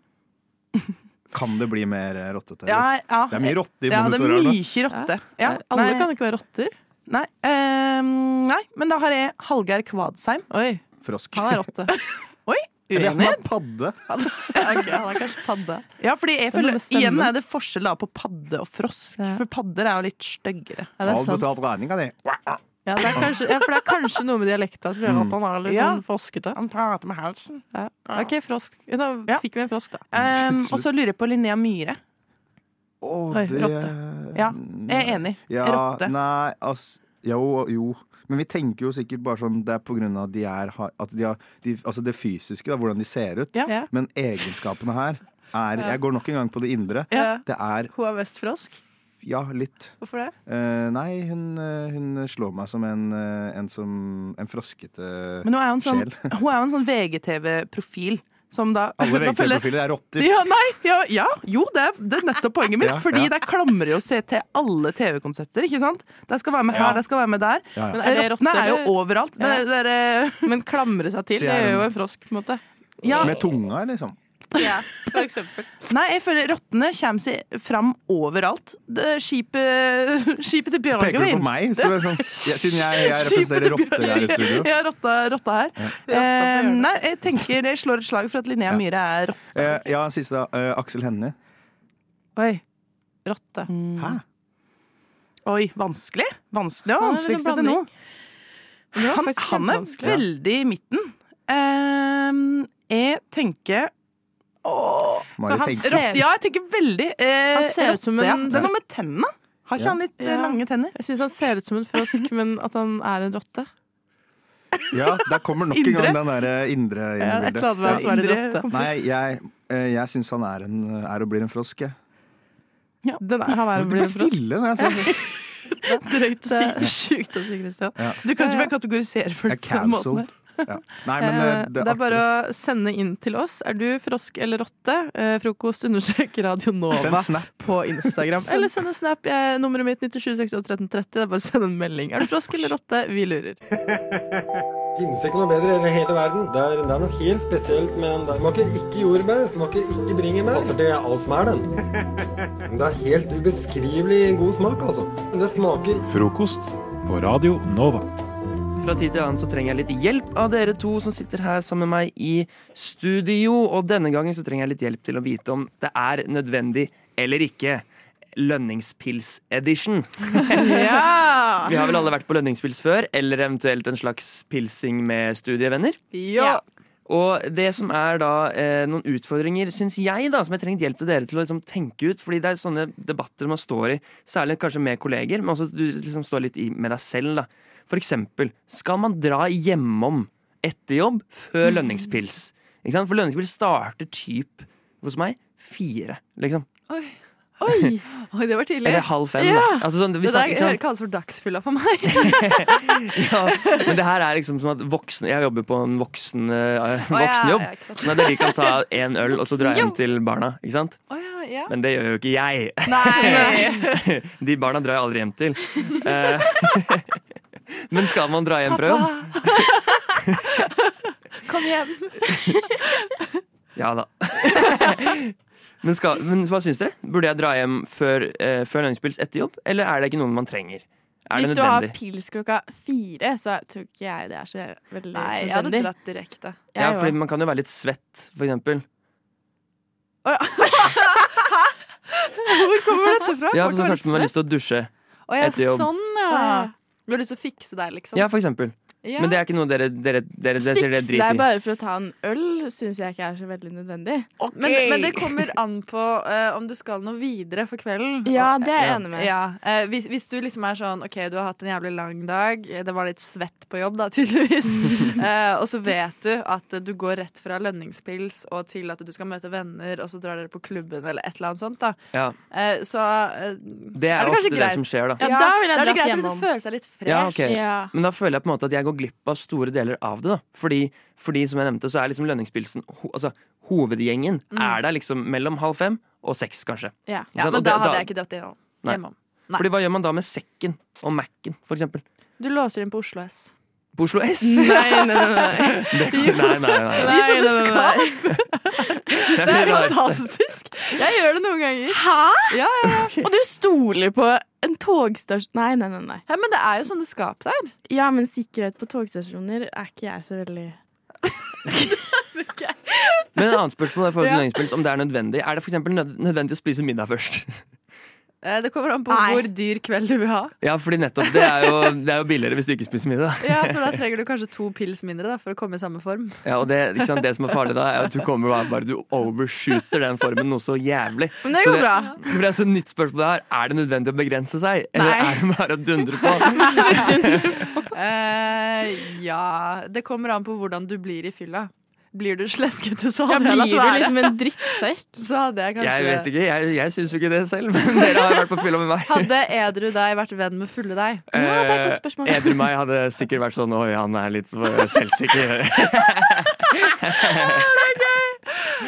C: Kan det bli mer eh, rottete?
P: Ja,
C: eller?
P: ja.
C: Det er mye rotte i
P: Ja, det er
C: monitorene.
P: mye rotte. Ja.
C: Alle
P: kan ikke være rotter. Nei. eh, nei, men da har jeg Hallgeir Kvadsheim. Oi.
C: Frosk.
P: Han er rotte. Oi,
C: Eller han
P: uenig.
C: er padde.
P: Han er kanskje padde. Ja, fordi jeg
C: Det er noe
P: føler,
C: med stemmen.
P: igjen er det forskjell da på padde og frosk, for padder er jo litt styggere.
C: Har betalt regninga di.
Q: Ja, det er kanskje, ja, for det er kanskje noe med dialekta som gjør at han er litt
P: Ja.
Q: sånn froskete.
P: Han prater med halsen.
Q: Ja. OK, frosk. Da fikk vi en frosk, da.
P: Um, og så lurer jeg på Linnea Myhre.
Q: Oi,
C: det-
P: rotte. Ja, jeg er enig.
C: Ja,
P: rotte.
C: Nei, ass Jo, jo. Men vi tenker jo sikkert bare sånn det er på grunn av at de er, har- at de har, de, altså det fysiske, da, hvordan de ser ut.
Q: Ja.
C: Men egenskapene her er
Q: Ja.
C: Jeg går nok en gang på det indre.
Q: Ja.
C: Det er
Q: Hun er mest frosk.
C: Ja, litt.
Q: Hvorfor det?
C: Eh, nei, hun, eh, hun slår meg som en, eh, en, som, en froskete
P: Men hun er jo en sånn,
C: sjel.
P: hun er jo en sånn VGTV-profil. Som da,
C: Alle
P: da følger-
C: VGTV-profiler er rotter.
P: Ja, nei, ja, ja, jo, det er, det er nettopp poenget mitt.
C: Ja,
P: fordi
C: ja.
P: der klamrer jo seg til alle TV-konsepter. ikke sant? De skal være med her,
Q: Ja.
P: de skal være med der.
Q: Ja, ja.
P: Men
Q: Men er det
P: rottene
Q: rotter,
P: er jo
Q: eller?
P: overalt. Det,
Q: Ja.
P: det er, eh,
Q: Men klamre seg til,
P: Så
Q: det
P: jeg er
Q: gjør jo
P: en-
Q: en frosk, på en måte.
P: Ja.
C: Med tunga, liksom.
Q: For eksempel.
P: Nei, jeg føler rottene kommer seg fram overalt. Det, skipet, skipet til Bjørgen
C: Peker du på meg? Så det er sånn, ja, siden jeg, jeg representerer rotter her i studio.
P: Ja, rotta, rotta her. Eh, nei, jeg tenker jeg slår et slag for at Linnea Myhre er rotte.
C: Eh, ja, siste. da. Eh, Aksel Hennie.
P: Oi. Rotte.
C: Hæ?
P: Mm. Oi, vanskelig? Vanskelig og
Q: Ja, det er
P: vanskeligst
Q: sånn
P: til nå.
Q: blanding. Men det var
P: Han,
Q: faktisk
P: han er
Q: kjempevanskelig.
P: veldig i midten. Ehm, jeg tenker Åh,
Q: Mari
P: for han
Q: tenker.
P: rotte- Ja, jeg tenker veldig eh,
Q: Han ser ut som
P: rotte, ja.
Q: en-
P: Det er noe med tennene. Har ikke han litt eh, lange tenner?
Q: Jeg syns han ser ut som en frosk, men at han er en rotte.
C: Ja, der kommer nok en
Q: Indre?
C: gang den der eh, indre inn
Q: Ja,
C: i
Q: jeg
C: bildet.
Q: klarte meg å svare
C: Indre
Q: rotte.
C: Nei, jeg, eh, jeg syns han er, en, er og blir en frosk, jeg.
Q: Den er, han er
C: Du
Q: blir
C: blir
Q: en frosk.
C: stille når jeg sier det.
Q: Drøyt å si. Sjukt å si, Christian.
C: Ja.
P: Du kan ikke bare kategorisere folk på den måten.
C: Cancelled.
P: her.
C: Ja. Nei, men eh,
Q: Eh, det er bare å sende inn til oss. Er du frosk eller rotte? Eh, Frokost understrek Radio
C: Send
Q: Nova
C: snap.
Q: på Instagram. Eller send en snap. Jeg, nummeret mitt 97681330. Det er bare å sende en melding. Er du frosk eller rotte? Vi lurer.
T: Finnes det ikke noe bedre i hele verden? Det er, det er noe helt spesielt med den. Det Smaker ikke jordbær, smaker ikke bringebær. Altså, det er alt som er den. Men Det er helt ubeskrivelig god smak, altså. Men det smaker
G: Frokost på Radio Nova.
U: Fra tid til annen så trenger jeg litt hjelp av dere to som sitter her sammen med meg i studio. Og denne gangen så trenger jeg litt hjelp til å vite om det er nødvendig eller ikke. Lønningspils-edition.
Q: Ja!
U: Vi har vel alle vært på lønningspils før, eller eventuelt en slags pilsing med studievenner.
Q: Ja.
U: Og det som er da eh, noen utfordringer, syns jeg, da, som jeg trenger hjelp til dere til å liksom, tenke ut. Fordi det er sånne debatter man står i, særlig kanskje med kolleger, men også du liksom står litt i med deg selv. da. For eksempel, skal man dra hjemom etter jobb før lønningspils? Ikke sant? For lønningspils starter typ hos meg fire, liksom.
Q: Oi. Oi. Oi, det var tidlig.
U: Eller halv fem, da. Altså, sånn, vi
Q: det der
U: snakker- ikke sant?
Q: kalles for dagsfylla for meg.
U: Men det her er liksom som at voksne Jeg jobber på en voksen, eh,
Q: Å, ja,
U: voksenjobb.
Q: ja, ikke sant.
U: sånn at dere kan ta én øl og så dra hjem
Q: Voksenjobb.
U: til barna. Ikke sant?
Q: ja.
U: Men det gjør jo ikke jeg.
Q: Nei.
U: De barna drar jeg aldri hjem til. Eh, Men skal man dra hjem fra jobb?
Q: Kom hjem.
U: Ja da. Men, skal, men hva syns dere? Burde jeg dra hjem før, eh, før lønnspils etter jobb, eller er det ikke noen man trenger? Er
Q: Hvis
U: det
Q: du har
U: nødvendig?
Q: pils klokka fire, så tror ikke jeg det er så veldig
S: Nei, jeg hadde
Q: nødvendig.
S: dratt direkte.
U: Ja, fordi man kan jo være litt svett, for eksempel.
S: Hvor kommer dette fra?
U: Ja, for så kanskje man har lyst til å dusje
S: Å ja,
U: etter jobb.
S: sånn, ja. Du har lyst til å fikse deg, liksom.
U: Ja, for eksempel.
S: Ja.
U: Men det er ikke noe dere, dere, dere, dere sier
S: Fikse
U: dere
S: deg
U: driter i.
S: bare for å ta en øl syns jeg ikke er så veldig nødvendig. Men, men det kommer an på eh, om du skal noe videre for kvelden. Ja, Og- det er jeg Ja. enig med. Ja, eh, hvis, hvis du liksom er sånn OK, du har hatt en jævlig lang dag, eh, det var litt svett på jobb da, tydeligvis, Eh, og så vet du at eh, du går rett fra lønningspils og til at du skal møte venner, og så drar dere på klubben eller et eller annet sånt, da.
U: Ja.
S: Eh, Så eh,
U: Det er,
S: kanskje
U: ofte det
S: greit.
U: som skjer, da.
S: Ja, da ville jeg er det dratt greit å liksom hjemom. føle seg litt fresh.
U: Ja, ok. Men da føler jeg på en måte at jeg går glipp av store deler av det. da Fordi, fordi som jeg nevnte, så er liksom lønningspilsen ho altså, Hovedgjengen
S: Mm.
U: er der liksom mellom halv fem og seks, kanskje.
S: Ja.
U: Ikke sant?
S: men
U: Og
S: da
U: det-
S: hadde jeg ikke dratt det
U: Nei.
S: hjemom.
U: Fordi hva gjør man da med sekken og Mac-en, for eksempel?
S: Du låser inn på Oslo S.
U: På Oslo S?
S: Nei, nei, nei, nei.
U: Det kan- nei, nei, nei.
S: Nei, nei, nei, nei.
U: Det
S: Det
U: er
S: er
U: mye rart.
S: fantastisk. Jeg gjør det noen ganger.
A: Hæ?
S: Ja, ja, ja.
A: Og du stoler på en togstasjon Nei, nei, nei. nei.
S: Hæ, men det er jo sånne skap der.
A: Ja, men sikkerhet på togstasjoner er ikke jeg så veldig
U: Men et annet spørsmål er,
S: Ja.
U: ja. om det er nødvendig. Er det for eksempel nød- nødvendig å spise middag først?
S: Eh, Det kommer an på hvor dyr kveld du vil ha.
U: Ja, fordi nettopp det er jo, det er jo billigere hvis du ikke spiser middag.
S: Ja, for da trenger du kanskje to pils mindre da, for å komme i samme form.
U: Ja, og det, ikke sant? det som er farlig da, er at du kommer bare, bare du overshooter den formen noe så jævlig.
S: Men det
U: Så
S: går bra.
U: Men det er så nytt spørsmål her. Er det nødvendig å begrense seg, eller
S: Nei.
U: er det bare å dundre på?
S: Eh, ja Det kommer an på hvordan du blir i fylla. Blir du sleskete, så
A: Ja,
S: hadde jeg latt
A: blir du
S: være.
A: liksom en
S: drittsekk? Så hadde jeg kanskje
U: Jeg vet ikke, jeg, jeg syns jo ikke det selv, men dere har vært på fylla med meg.
S: Hadde edru deg vært venn med fulle deg? Ja, det er et godt spørsmål.
U: Eh, Edru meg hadde sikkert vært sånn Oi, han er litt for selvsikker.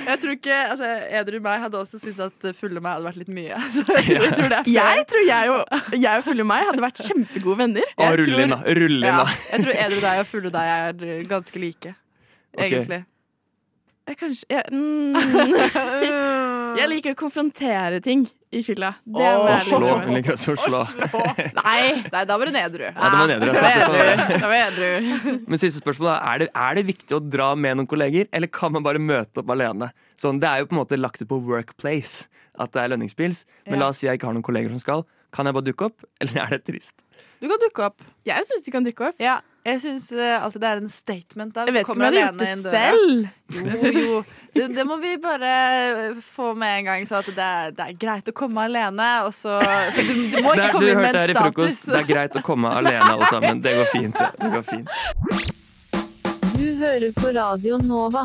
S: Jeg tror ikke, altså Edru meg hadde også syntes at fulle meg hadde vært litt mye. Så jeg tror, jeg tror det er fair.
A: Jeg tror jeg og, jeg og fulle meg hadde vært kjempegode venner.
U: Å, rull inn, da. Rull inn,
S: Ja,
U: da.
S: jeg tror edru deg og fulle deg er eh, ganske like.
U: Ok.
S: Egentlig.
A: Jeg kanskje jeg, mm. jeg liker å konfrontere ting i fylla. Det
S: Å,
A: må
U: Å
A: jeg
U: slå.
A: innrømme.
U: Hun liker også å slå.
S: Nei, Nei da var hun edru.
U: Ja, det var nedre,
S: Da
U: sant,
S: var jeg
U: det er sant,
S: edru. Da var jeg edru.
U: Men siste spørsmål da, er det, er det viktig å dra med noen kolleger, eller kan man bare møte opp alene? Sånn, det er jo på en måte lagt ut på workplace at det er lønningspils, men
S: Ja.
U: la oss si jeg ikke har noen kolleger som skal. Kan jeg bare dukke opp, eller er det trist?
S: Du kan dukke opp. Jeg syns du kan dukke opp. Ja, jeg syns alltid det er en statement. Da,
A: Jeg
S: hvis
A: vet
S: du
A: ikke om
S: kommer
A: jeg
S: alene
A: hadde gjort det
S: inn døra.
A: selv.
S: Jo, jo. Det, det må vi bare eh, få med en gang, så at det er, det er greit å komme alene. Og så, for du, du må
U: Det
S: ikke
U: er-
S: komme
U: du
S: inn med
U: hørte her
S: en
U: i frokost,
S: status.
U: det er greit å komme alene alle sammen. Det går fint. det. det går fint.
V: Du hører på Radio Nova.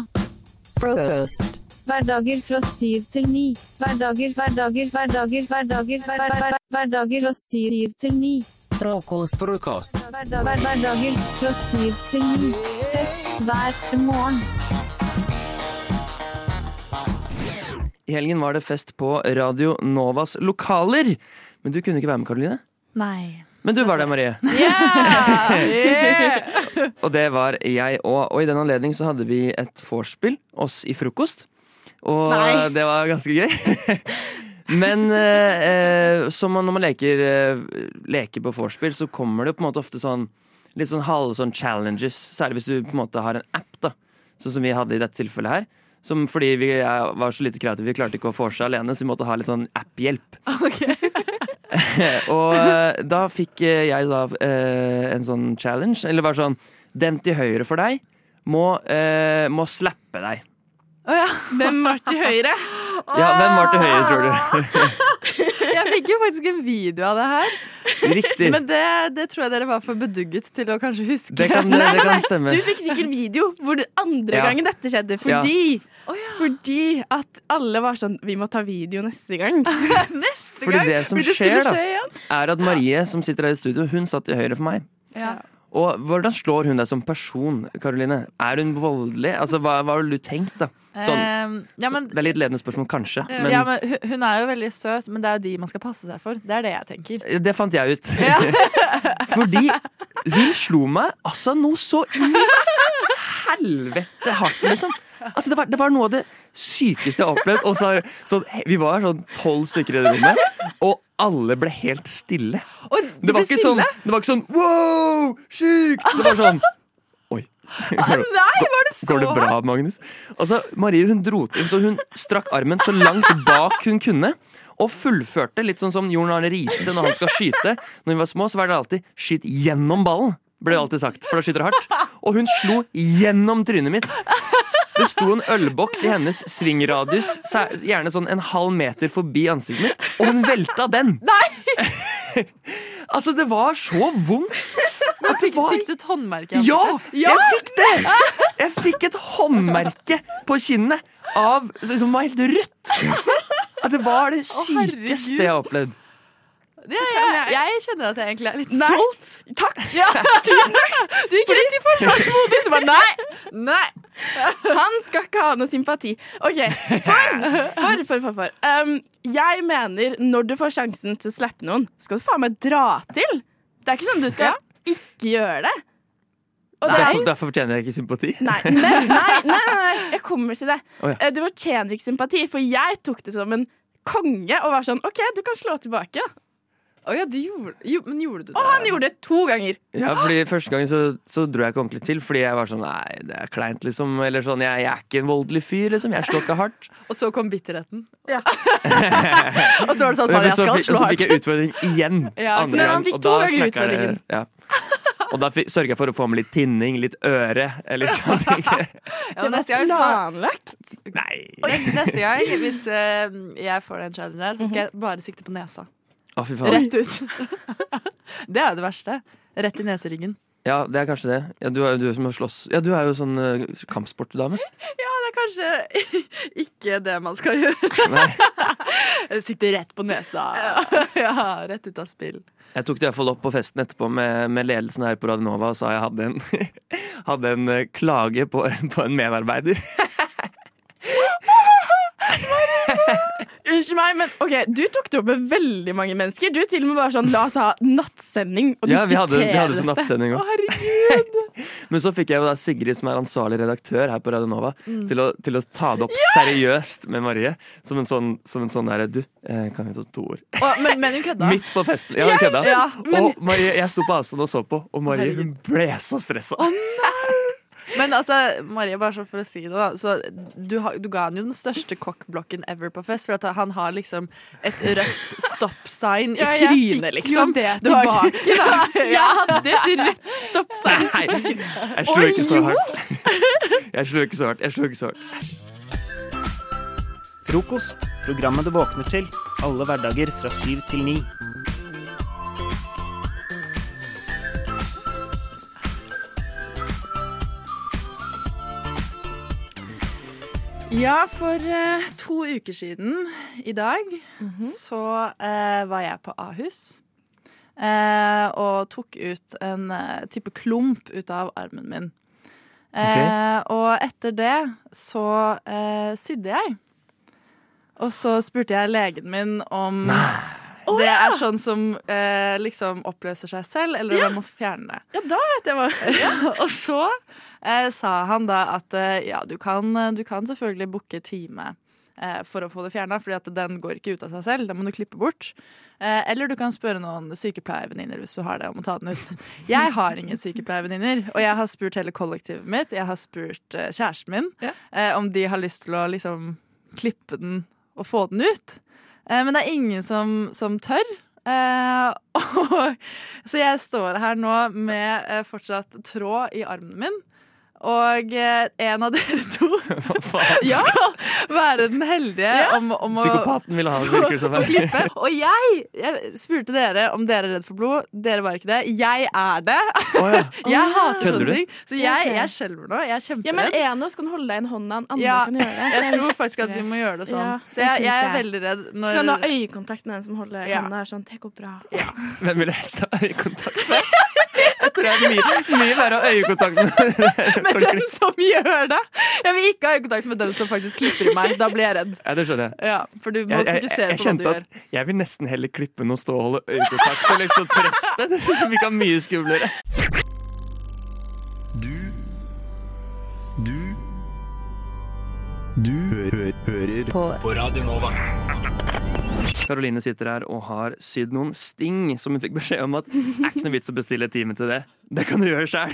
V: Frokost. Hverdager fra syv til ni. Hverdager, hverdager, hverdager, hverdager, hver- hver- hver- hverdager fra syv til ni.
W: Frokost, frokost.
V: Hverdag- Hverdager fra syv til ni. Fest hver morgen.
U: I helgen var det fest på Radio Novas lokaler, men du kunne ikke være med, Karoline.
S: Nei.
U: Men du var
S: Altså,
U: der, Marie. Og det var jeg òg. Og i den anledning så hadde vi et vorspiel, oss i frokost. Og
X: Nei.
U: det var ganske gøy. Men eh, eh, som man, når man leker, eh, leker på vorspiel, så kommer det jo på en måte ofte sånn litt sånn halve sånn challenges. Særlig hvis du på en måte har en app, da. Sånn som vi hadde i dette tilfellet her. Som fordi vi eh, var så lite kreative, vi klarte ikke å vorse alene, så vi måtte ha litt sånn app-hjelp. og eh, da fikk eh, jeg da eh, en sånn challenge. Eller var sånn Den til høyre for deg må, eh, må slappe deg.
S: Hvem var til høyre?
U: Ja, hvem var til høyre, tror
S: Ah,
U: du?
S: Jeg fikk jo faktisk en video av det her.
U: Riktig.
S: Men det, det tror jeg dere var for bedugget til å kanskje huske.
U: Det kan- det- Nei, det nei, kan nei. stemme.
A: Du fikk sikkert video hvor det andre
U: Ja.
A: gangen dette skjedde. Fordi, fordi at alle var sånn Vi må ta video neste gang. neste
U: Fordi det som skjer, da, er at Marie, som sitter her i studio, hun satt til høyre for meg.
S: Ja.
U: Og hvordan slår hun deg som person, Karoline? Er hun voldelig? Altså, hva, hva har du tenkt, da? Sånn,
S: Ehm, ja, men,
U: det er litt ledende spørsmål, kanskje. Men,
S: ja, men hun- hun er jo veldig søt, men det er jo de man skal passe seg for. Det er det jeg tenker.
U: Det fant jeg ut. Fordi hun slo meg altså noe så inn i helvete hardt, liksom. Altså, det, var, det var noe av det sykeste jeg har opplevd. Og så, så, vi var sånn tolv stykker i det rommet, og alle ble helt stille. det, var
F: ble
U: ikke sånn,
F: stille?
U: det var ikke sånn wow, sjukt! Det var sånn Oi.
F: nei, var det så
U: Går det bra,
F: hardt?
U: Magnus? Altså, Marie hun dro til, så hun strakk armen så langt bak hun kunne. Og fullførte, litt sånn som Jon Arne Riise når han skal skyte. Når vi var små, så var det alltid 'skyt gjennom ballen', ble det alltid sagt. For da skyter du hardt. Og hun slo gjennom trynet mitt. Det sto en ølboks i hennes svingradius, sær- gjerne sånn en halv meter forbi ansiktet mitt, og hun velta den. altså, det var så vondt.
S: Men fikk, fikk du et håndmerke? i
U: Ja!
S: ansiktet?
U: Jeg fikk det! Jeg fikk et håndmerke på kinnet av, som var helt rødt. At det var det sykeste jeg har opplevd.
S: Ja, jeg, jeg kjenner at jeg egentlig er litt
A: Nei.
S: stolt.
A: Takk!
S: Ja, tusen takk. Du gikk rett i forsvarsmodus og bare nei, nei.
A: Han skal ikke ha noe sympati. OK. For, for, for, for. for. Um, jeg mener, når du får sjansen til å slappe noen, skal du faen meg dra til. Det er ikke sånn du skal ikke gjøre det. Og det er
U: Derfor, derfor fortjener jeg ikke sympati.
A: Nei, men, nei, nei, nei, nei, jeg kommer til det.
U: Å, ja.
A: Eh, Du fortjener ikke sympati, for jeg tok det som en konge og var sånn OK, du kan slå tilbake.
S: Å ja, du gjorde, jo, men gjorde du det?
A: Og han gjorde det to ganger.
U: Ja, fordi Første gangen så, så dro jeg ikke ordentlig til, fordi jeg var sånn Nei, det er kleint, liksom. Eller sånn, jeg, jeg er ikke en voldelig fyr, liksom. Jeg slår ikke hardt.
S: Og så kom bitterheten. og så var det sånn
U: Men
S: Faen, jeg
U: så,
S: skal
U: fikk-
S: slå
U: så fikk
S: hardt.
U: jeg utfordring igjen.
S: Ja, for
U: andre
S: han
U: gang,
S: fikk
U: og
S: to
U: da
S: ganger
U: snakket jeg-
S: utfordringen.
U: Ja. Og da fikk, sørga jeg for å få med litt tinning, litt øre. Eller litt sånn.
S: Ja, men neste gang så-
A: planlagt.
S: Neste, neste gang, hvis eh, jeg får den challengen her, så skal jeg bare sikte på nesa.
U: Å, fy faen.
S: Mhm. Rett ut. det er jo det verste. Rett i neseryggen.
U: Ja, det er kanskje det. Ja, du, er, du er som å slåss. Ja, du er jo sånn uh, kampsportdame.
S: Ja, det er kanskje ikke det man skal gjøre.
U: Nei.
S: Sikte rett på nesa. Ja, rett ut av spill.
U: Jeg tok det i hvert fall opp på festen etterpå med, med ledelsen her på Radionova og sa jeg hadde en, hadde en eh, klage på, på en medarbeider.
A: Unnskyld meg, men ok, du tok det opp med veldig mange mennesker. Du til og med var sånn La oss ha nattsending og
U: Ja, vi hadde-
A: diskutere
U: vi hadde sånn
A: dette.
U: nattsending også.
A: Å, herregud.
U: Men så fikk jeg jo da Sigrid, som er ansvarlig redaktør her på Radionova,
A: Mm.
U: til, å- til å ta det opp seriøst med Marie. Som en sånn, som en sånn derre Du, eh, kan vi ta to ord?
S: Å, men, men hun kødda.
U: Midt på festen. Ja,
S: Jeg
U: kødda.
S: skjønte, men-
U: Og Marie, jeg sto på avstand og så på, og Marie hun ble så stressa.
S: Men altså, Marie, bare sånn for å si det, da. Så du, har- du ga han jo den største cockblocken ever på fest. For at han har liksom et rødt stoppsign i
A: Ja, jeg
S: trynet,
A: fikk
S: liksom.
A: jo det
S: Du har ikke-
A: tilbake, da. Jeg hadde et rødt
U: Nei, jeg slo ikke så hardt. Jeg slo ikke så hardt. Jeg slo ikke så hardt.
B: Frokost. Programmet du våkner til. Alle hverdager fra syv til ni.
S: Ja, for eh, to uker siden i dag så eh, var jeg på Ahus. eh, og tok ut en eh, type klump ut av armen min. Eh, og etter det så eh, sydde jeg. Og så spurte jeg legen min om det er sånn som eh, liksom oppløser seg selv, eller om jeg må fjerne det.
A: Ja, da vet jeg hva.
S: og så eh, sa han da at eh, ja, du kan, du kan selvfølgelig booke time eh, for å få det fjerna, fordi at den går ikke ut av seg selv, den må du klippe bort. Eh, eller du kan spørre noen sykepleiervenninner hvis du har det, om å ta den ut. Jeg har ingen sykepleiervenninner, og jeg har spurt hele kollektivet mitt, jeg har spurt eh, kjæresten min eh, om de har lyst til å liksom klippe den og få den ut. Eh, men det er ingen som, som tør. Eh, og, så jeg står her nå med eh, fortsatt tråd i armen min. Og eh, en av dere to ja, skal være den heldige om, om å
U: Psykopaten ville ha det, virker det som.
S: å klippe. Og jeg, jeg spurte dere om dere er redd for blod. Dere var ikke det. Jeg er det. Jeg hater
A: Kødder du?
S: sånne ting. Så jeg,
A: Ok.
S: jeg skjelver nå. Jeg er kjemperedd.
A: Ja, men en av oss kan holde deg i en hånd, den andre
S: Ja,
A: kan gjøre det.
S: jeg tror faktisk at vi må gjøre det sånn. Så
A: det
S: jeg-
A: syns
S: jeg er veldig redd når-
A: Så kan du ha øyekontakt med den som holder deg i
S: Ja.
A: hånda. er Sånn, det går bra.
U: Hvem ville helst ha øyekontakt med? Jeg tror det er mye, mye verre å ha øyekontakt med.
S: med den som gjør det. Jeg vil ikke ha øyekontakt med den som faktisk klipper i meg. Da blir jeg redd.
U: Ja, det skjønner jeg.
S: Ja, for du må
U: Jeg, jeg, jeg,
S: fokusere på
U: jeg
S: hva du
U: kjente
S: gjør.
U: at jeg vil nesten heller klippe enn å stå og holde øyekontakt og liksom trøste. Det synes jeg virka mye skumlere.
D: Du Du hø hø hører på, på Radio Nova.
U: Karoline sitter her og har sydd noen sting som hun fikk beskjed om at det er ikke noe vits å bestille time til det. Det kan du gjøre sjæl.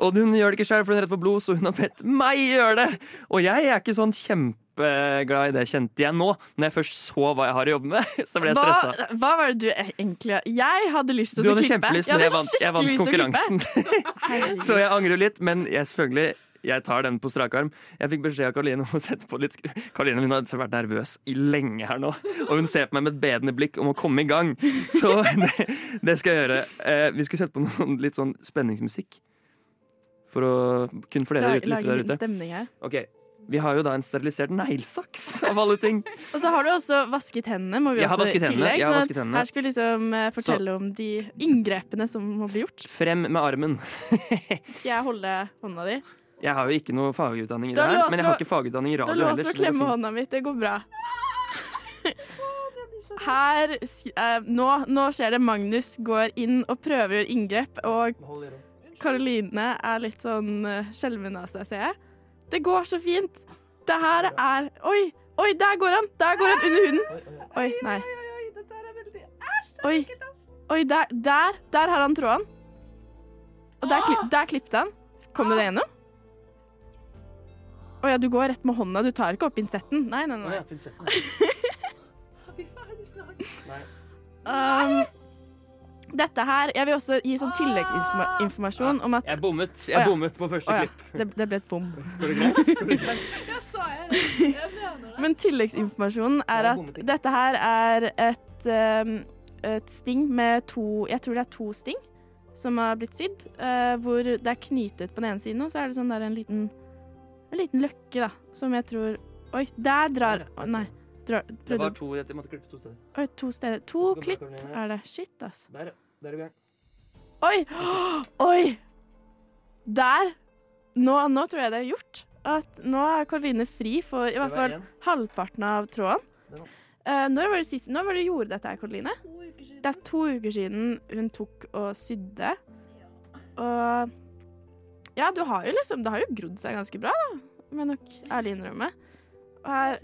U: Og hun gjør det ikke sjæl, for hun er redd for blod, så hun har bedt meg gjøre det. Og jeg er ikke sånn kjempeglad i det, kjente jeg nå. Når jeg først så hva jeg har å jobbe med, så ble jeg stressa.
A: Hva, hva var det du e- egentlig Jeg hadde lyst til
U: Du
A: å
U: hadde
A: klippe.
U: kjempelyst,
A: Jeg
U: men jeg
A: hadde
U: vant, jeg vant
A: skikkelig lyst til å
U: konkurransen.
A: klippe.
U: Så jeg angrer litt, men jeg selvfølgelig jeg tar den på strak arm. Jeg fikk beskjed av Karoline om å sette på litt sk- Karoline hun har vært nervøs i lenge her nå, og hun ser på meg med et bedende blikk om å komme i gang. Så det, det skal jeg gjøre. Eh, vi skulle sette på noen litt sånn spenningsmusikk for å kunne for dere
A: Lage-
U: lytte
A: lage en
U: der
A: liten
U: ute.
A: stemning her.
U: Ok, Vi har jo da en sterilisert neglesaks, av alle ting.
A: Og så har du også vasket hendene. Må vi
U: Jeg har
A: også i
U: vasket hendene,
A: tillegg,
U: jeg har
A: så
U: vasket hendene.
A: Her skal vi liksom eh, fortelle om de inngrepene som må bli gjort.
U: Frem med armen.
A: Skal jeg holde hånda di?
U: Jeg har jo ikke noe fagutdanning i
A: Da
U: det her,
A: låter
U: men jeg har ikke fagutdanning i
A: Da
U: radio
A: låter
U: heller.
A: det å
U: så det går
A: klemme
U: fint.
A: hånda mitt. Det går bra. Her sk- eh, nå, nå skjer det. Magnus går inn og prøver å gjøre inngrep, og Karoline er litt sånn eh, skjelven av seg, ser jeg. Det går så fint. Det her er Oi! Oi, der går han! Der går han under huden. Oi, nei. Oi, oi der, der, der har han tråden. Og der, kli, der klippte han. Kom du deg gjennom? Å ja, du går rett med hånda. Du tar ikke opp pinsetten. Nei, nei, nei. Um, dette her Jeg vil også gi sånn tilleggsinformasjon om at
U: Ah! Jeg bommet.
A: Å
U: Jeg
A: ja.
U: bommet på første
A: Å ja,
U: klipp.
A: Det, det ble et bom.
S: Jeg sa jeg Jeg mener det.
A: Men tilleggsinformasjonen er at dette her er et, ehm, et sting med to Jeg tror det er to sting som har blitt sydd. eh, hvor det er knytet på den ene siden, og så er det sånn der en liten En liten løkke, da, som jeg tror Oi, der drar
U: altså.
A: Å, nei. Drar,
U: Det var
A: prøvde,
U: to, jeg måtte klippe to steder.
A: oi, to steder. To
U: Kom da,
A: klipp
U: Karoline.
A: er det. Shit, ass.
U: Der, der er vi i gang.
A: Oi! Oi! Der! Nå, nå tror jeg det er gjort. At nå er Karoline fri for i
S: Det
A: hvert
S: var
A: fall
S: en.
A: halvparten av tråden. Eh, når var det sist Når var det du gjorde dette her, Karoline? Det er to uker siden hun tok og sydde. Og Ja, du har jo liksom Det har jo grodd seg ganske bra, da. Må jeg nok ærlig innrømme. Og her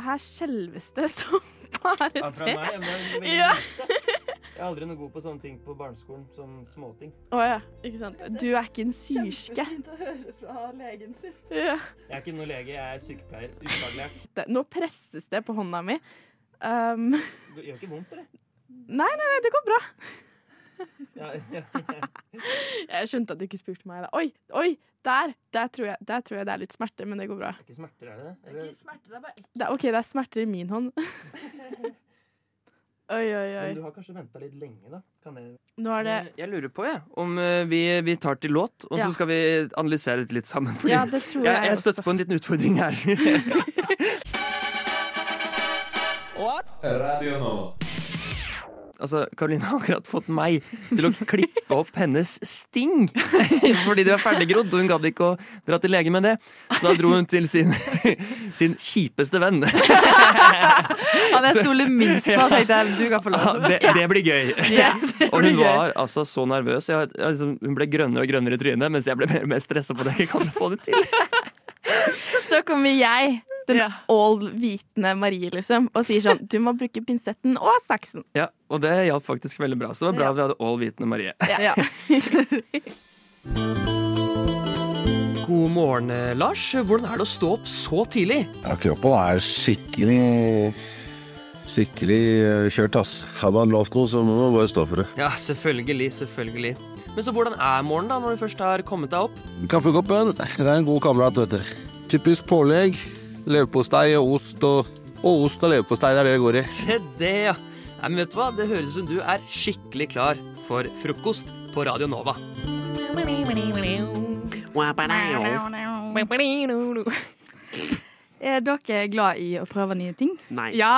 A: Her skjelves det som bare det.
U: Ja, fra meg, men det er veldig
A: Ja.
U: Jeg er aldri noe god på sånne ting på barneskolen. Sånne småting.
A: Å ja, ikke sant. Du er ikke en syrske.
Q: å høre fra legen sin.
A: Ja.
U: Jeg er ikke noe lege, jeg er sykepleier. Ufaglært.
A: Det- Nå presses det på hånda mi. Um,
U: Det gjør ikke vondt, eller?
A: nei, nei, nei, det går bra.
U: Ja, ja.
A: Jeg skjønte at du ikke spurte meg. Da. Oi, oi, der! Der tror, jeg, der tror jeg det er litt smerte, men det går bra.
U: Ikke smerter, er det det? Eller?
A: Det er, OK, det er smerter i min hånd. Oi, oi, oi.
U: Men du har kanskje venta litt lenge, da? Kan jeg...
A: Nå er det
U: Jeg lurer på, jeg, om eh, vi, vi tar til låt, og
A: Ja.
U: så skal vi analysere det litt sammen. fordi
A: Ja, det tror jeg
U: jeg støtter på en liten utfordring her.
D: Radio nå.
U: altså, Karoline har akkurat fått meg til å klippe opp hennes sting. Fordi det var ferdiggrodd, og hun gadd ikke å dra til lege med det. Så da dro hun til sin, sin kjipeste venn.
S: Han jeg stoler minst på, tenkte jeg. Du kan få
U: Ja,
S: lov.
U: det, det blir gøy.
S: Ja, det
U: og
S: blir
U: hun
S: gøy.
U: var altså så nervøs. Jeg, jeg, liksom, hun ble grønnere og grønnere i trynet, mens jeg ble mer og mer stressa på det. Jeg kan få det til.
A: Så kommer jeg, den all-vitende Marie, liksom, og sier sånn Du må bruke pinsetten og saksen.
U: Ja, Og det hjalp faktisk veldig bra. Så det var bra at vi hadde all-vitende Marie.
A: Ja.
U: God morgen, eh, Lars. Hvordan er det å stå opp så tidlig?
J: Ja, kroppen er skikkelig Skikkelig eh, kjørt, ass. Har man lovt noe, så må man bare stå for det.
U: Ja, selvfølgelig, selvfølgelig. Men så hvordan er morgenen, da, når du først har kommet deg opp?
J: Kaffekoppen, det er en god kamerat, vet du. Typisk pålegg. Leverpostei og ost og Og ost og leverpostei, det er det det går i.
U: Se det, ja. Nei, men vet du hva? Det høres ut som du er skikkelig klar for frokost på Radio Nova.
K: Er dere glad i å prøve nye ting?
M: Nei.
K: Ja,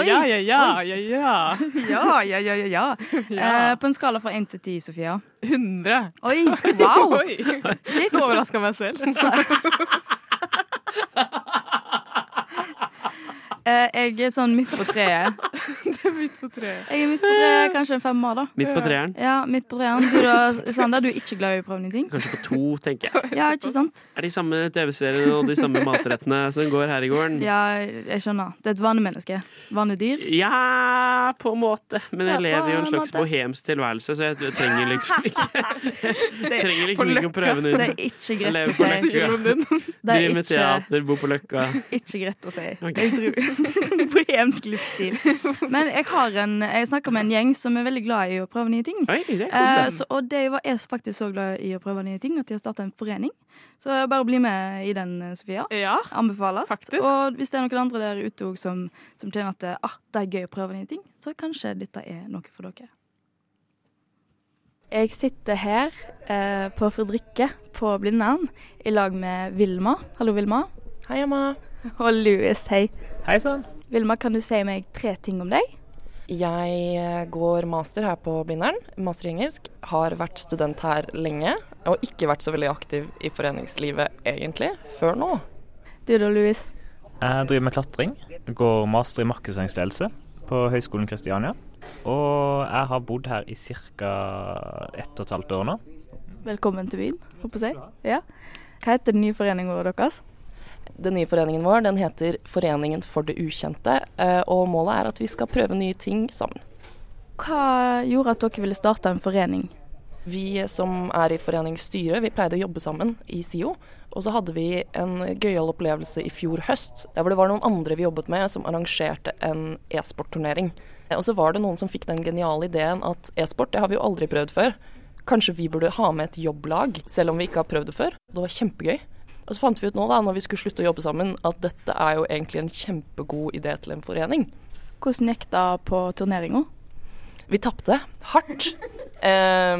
M: Oi.
K: ja, ja, ja,
M: Oi.
K: ja, ja. Ja, ja, ja, ja, ja. Eh, på en skala fra 1 til 10, Sofia? 100. Oi, wow.
M: Oi.
K: Shit.
M: Overrasker meg selv.
K: Eh, jeg er sånn midt på treet. Jeg er midt på treet, kanskje en femmer, da.
M: Midt på treeren?
K: Ja, midt på treeren. Du da, Sander, du er ikke glad i å prøve nye ting?
M: Kanskje på to, tenker jeg.
K: Ja, ikke sant?
M: Er de samme TV-seriene og de samme matrettene som går her i gården?
K: Ja, jeg skjønner. Det er et vanemenneske. Vanedyr.
M: Ja, på en måte. Men jeg
K: Ja, på
M: lever jo en slags
K: måte.
M: bohemsk tilværelse, så jeg trenger liksom ikke Trenger liksom ikke å prøve noe.
K: Det er ikke
M: Jeg
K: greit
M: lever
K: å
M: på
K: si.
M: Løkka.
K: Det er
M: Driver med
K: ikke,
M: teater, bor på Løkka.
K: ikke greit å si. Jeg tror Bohemsk livsstil. Men jeg har en Jeg snakker med en gjeng som er veldig glad i å prøve nye ting.
M: er
K: Eh,
M: koselig.
K: så, og de var, er faktisk så glad i å prøve nye ting at de har starta en forening. Så bare bli med i den, eh, Sofia. Anbefales. Og hvis det er noen andre der ute òg som, som kjenner at eh, ah, det er gøy å prøve nye ting, så kanskje dette er noe for dere. Jeg sitter her eh, på Fredrikke på Blindern i lag med Vilma. Hallo, Vilma. Hei, Emma. Og Louis, hei. Hei sann. Vilma, kan du si meg tre ting om deg?
M: eh,
X: Jeg går master her på Blindern, master i engelsk. Har vært student her lenge.
M: og ikke vært så veldig aktiv i foreningslivet egentlig før nå.
Y: Du da, Louis?
L: Jeg driver med klatring. Går master i markedsføringsledelse på Høgskolen Kristiania. Og jeg har bodd her i ca. ett og et halvt år nå.
K: Velkommen til byen, håper jeg. Ja. Hva heter den nye foreningen vår deres?
M: Den nye foreningen vår den heter Foreningen for det ukjente, eh, og målet er at vi skal prøve nye ting sammen.
K: Hva gjorde at dere ville starte en forening?
M: Vi som er i foreningsstyret, vi pleide å jobbe sammen i SIO. Og så hadde vi en gøyal opplevelse i fjor høst, der hvor det var noen andre vi jobbet med som arrangerte en e-sportturnering. Eh, Og så var det noen som fikk den geniale ideen at e-sport, det har vi jo aldri prøvd før. Kanskje vi burde ha med et jobblag, selv om vi ikke har prøvd det før. Det var kjempegøy. Og så fant vi ut nå, da, når vi skulle slutte å jobbe sammen, at dette er jo egentlig en kjempegod idé til en forening.
K: Hvordan gikk det på turneringa?
M: Vi tapte hardt, eh,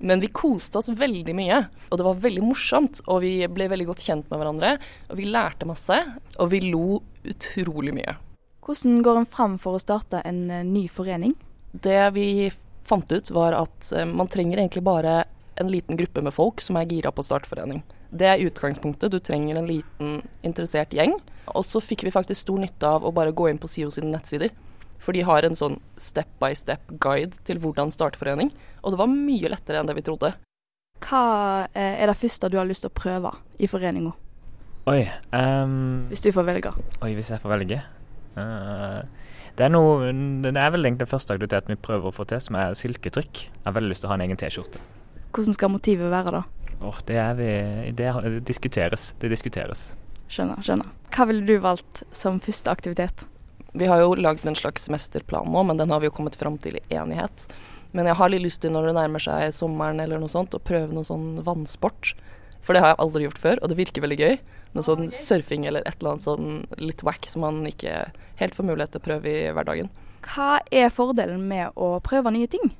M: men vi koste oss veldig mye. Og det var veldig morsomt, og vi ble veldig godt kjent med hverandre. Og vi lærte masse, og vi lo utrolig mye.
K: Hvordan går en fram for å starte en eh, ny forening?
M: Det vi fant ut, var at eh, man trenger egentlig bare en liten gruppe med folk som er gira på å starte forening. Det er utgangspunktet. Du trenger en liten, interessert gjeng. Og så fikk vi faktisk stor nytte av å bare gå inn på SIO sine nettsider. For de har en sånn step by step guide til hvordan starte forening. Og det var mye lettere enn det vi trodde.
K: Hva eh, er det første du har lyst til å prøve i foreninga,
L: Oi. ehm,
K: hvis du får velge?
L: Oi, hvis jeg får velge. Eh, det, er noe, det er vel egentlig den første aktiviteten vi prøver å få til, som er silketrykk. Jeg har veldig lyst til å ha en egen T-skjorte.
K: Hvordan skal motivet være da?
L: Åh, det, er vi- det, er- det diskuteres. Det diskuteres.
K: Skjønner, skjønner. Hva ville du valgt som første aktivitet?
M: Vi har jo lagd en slags mesterplan nå, men den har vi jo kommet fram til i enighet. Men jeg har litt lyst til, når det nærmer seg sommeren eller noe sånt, å prøve noe sånn vannsport. For det har jeg aldri gjort før, og det virker veldig gøy. Noe sånn surfing eller et eller annet sånn litt wack som man ikke helt får mulighet til å prøve i hverdagen.
K: Hva er fordelen med å prøve nye ting?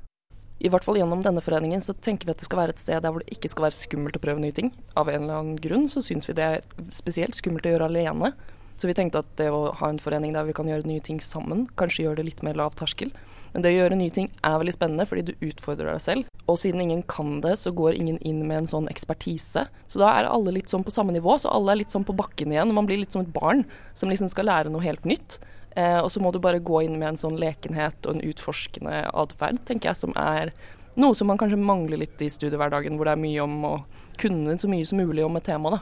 M: I hvert fall gjennom denne foreningen så tenker vi at det skal være et sted der hvor det ikke skal være skummelt å prøve nye ting. Av en eller annen grunn så syns vi det er spesielt skummelt å gjøre alene. Så vi tenkte at det å ha en forening der vi kan gjøre nye ting sammen, kanskje gjøre det litt mer lav terskel. Men det å gjøre nye ting er veldig spennende fordi du utfordrer deg selv. Og siden ingen kan det, så går ingen inn med en sånn ekspertise. Så da er alle litt sånn på samme nivå, så alle er litt sånn på bakken igjen. og Man blir litt som et barn som liksom skal lære noe helt nytt. Eh, og så må du bare gå inn med en sånn lekenhet og en utforskende atferd, tenker jeg, som er noe som man kanskje mangler litt i studiehverdagen, hvor det er mye om å kunne så mye som mulig om et tema, da.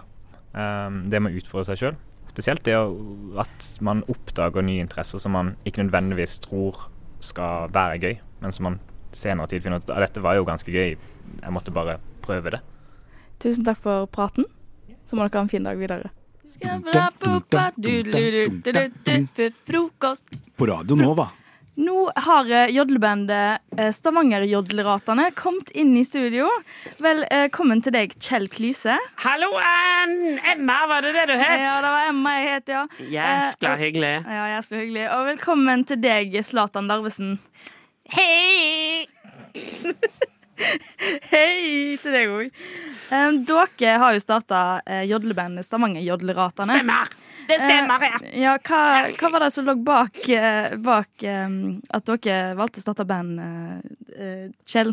L: Ehm, det med å utfordre seg sjøl. Spesielt det å- at man oppdager nye interesser som man ikke nødvendigvis tror skal være gøy, men som man senere tid finner ut at "Ah, dette var jo ganske gøy, jeg måtte bare prøve det.
K: Tusen takk for praten. Så må dere ha en fin dag videre. Frokost.
F: På Radio Nova.
K: Nå har eh, jodlebandet eh, Stavanger-jodleratene kommet inn i studio. eh, Velkommen til deg, Kjell Klyse.
N: Hallo, Ann! Emma, var det det du het?
K: Ja, det var Emma jeg het, ja.
N: Jæskla
K: Eh,
N: hyggelig.
K: Ja, jæskla hyggelig. Og velkommen til deg, Zlatan Larvesen. Hei! Hei til deg òg. dere har jo starta eh, jodlebandet Stavanger Jodleratane.
N: Stemmer. Det stemmer,
K: ja. ja hva, hva var det som lå bak, eh, bak eh, at dere valgte å starte band, eh, eh, Kjell?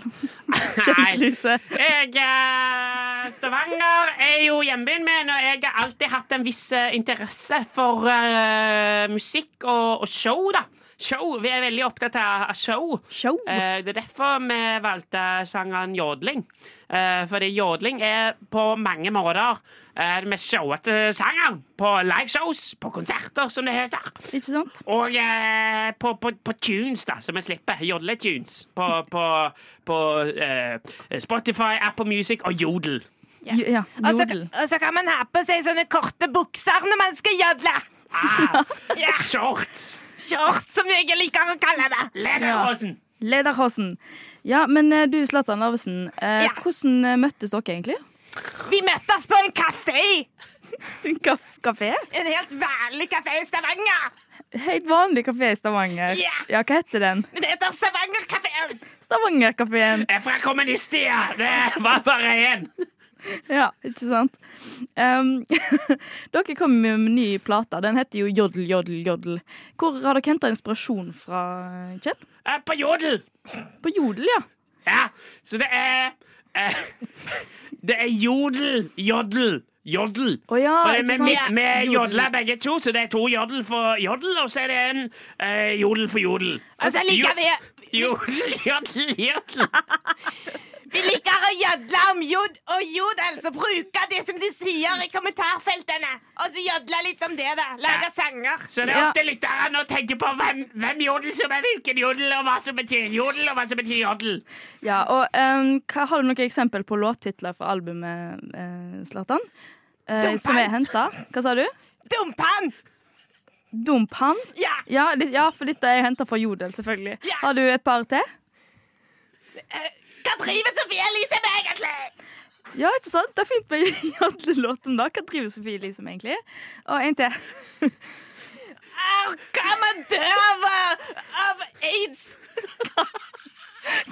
K: Kjell Kluse.
N: Jeg, eh, Stavanger er jo hjembyen min, og jeg har alltid hatt en viss eh, interesse for eh, musikk og, og show, da. Show. Vi er veldig opptatt av av show. Eh, det er derfor vi valgte sangeren jodling. Eh, fordi jodling er på mange måter eh, den mest showete sangeren. På liveshows, på konserter, som det heter.
K: Ikke sant?
N: Og eh, på, på, på tunes, da, som vi slipper. Jodletunes. På, på, på eh, Spotify, Apple Music og Jodel.
K: Jo- Ja,
N: Altså,
K: jodel.
N: Og så kan man ha på seg sånne korte bukser når man skal jodle. Shorts.
K: Shorts, som jeg liker å kalle det.
N: Lederhosen.
K: Ja. Lederhosen. Ja, men eh, du, Zlatan Larvesen, eh, hvordan eh, møttes dere egentlig?
N: Vi møttes på en kafé!
K: En kaf kafé?
N: En helt vanlig kafé i Stavanger.
K: Helt vanlig kafé i Stavanger.
N: Ja.
K: Ja, hva heter den?
N: Det heter Stavanger-kafeen.
K: Stavangerkafeen.
N: Jeg er fra kommunisttida. Det var bare én.
K: Ja, ikke sant? Ehm, dere kom med en ny plate. Den heter jo Jodel, jodel, jodel. Hvor har dere henta inspirasjon fra, eh, Kjell?
N: Eh, På Jodel.
K: På Jodel, ja.
N: Ja, så det er eh, Det er jodel, jodel, jodel.
I: Å ja,
N: Og det-
I: ikke
N: men
I: sant?
N: vi, vi
I: Jodel.
N: jodler begge to, så det er to jodel for jodel, og så er det en eh, jodel for jodel.
F: Altså, jeg liker
N: Jo- Jodel, jodel, jodel.
F: Vi liker å gjødle om jod og jodel, så bruke det som de sier i kommentarfeltene. Og så gjødle litt om det, da. Lage sanger.
N: Så det er opp til lytteren å tenke på hvem, hvem jodel som er hvilken jodel, og hva som betyr jodel, og hva som betyr jodel.
K: Ja, og ehm, hva, Har du noen eksempel på låttitler fra albumet, eh, Zlatan? Eh,
F: Dumpan!
K: som er henta? Hva sa du?
F: Dumpan!
K: Dumpan?
F: Ja.
K: Ja, litt- ja, for dette er henta fra Jodel, selvfølgelig. Har du et par til?
F: Eh, Hva driver Sofie Elise med, egentlig?
K: Ja, ikke sant? Det er fint med jodlelåt om det. Hva driver Sofie Elise med, egentlig? Og en til.
F: Kan man dø av, uh, av aids?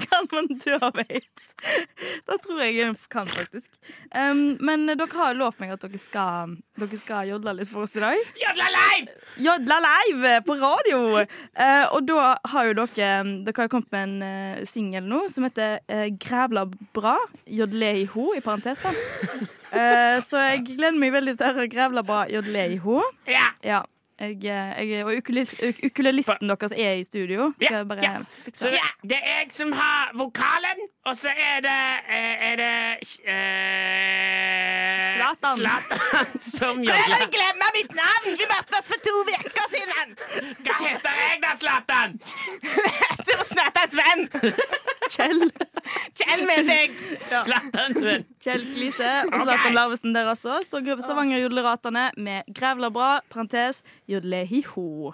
K: Kan man dø av aids? Det tror jeg jeg kan, faktisk. Ehm, men dere har lovt meg at dere skal, dere skal jodle litt for oss i dag.
N: Jodla live!
K: Jodla live på radio! Eh, og da har jo dere Dere har kommet med en eh, singel nå som heter eh, 'Grævla bra'. Jodleiho, i parentes, da. Eh, så jeg gleder meg veldig til å høre 'Grævla bra jodleiho'.
N: Ja.
K: ja. Jeg, eh, jeg, og ukulis- uk- ukulelisten deres er i studio. Skal jeg bare
N: ja. Så det, det er jeg som har vokalen, og så er det eh, Er det eh,
F: Zlatan.
N: Zlatan som
F: Prøv å
N: jodler.
F: glemme mitt navn! Vi møttes for to uker siden.
N: Hva heter jeg da, Zlatan?
F: Etter å snakke Sven.
K: Kjell.
F: Kjell, mener jeg.
N: Zlatan, Sven.
K: Kjell Klise og
N: Ok.
K: Zlatan Larvesen der også. Står gruppe Stavanger Jodleratane med 'Grævla bra', parentes, jodlehiho.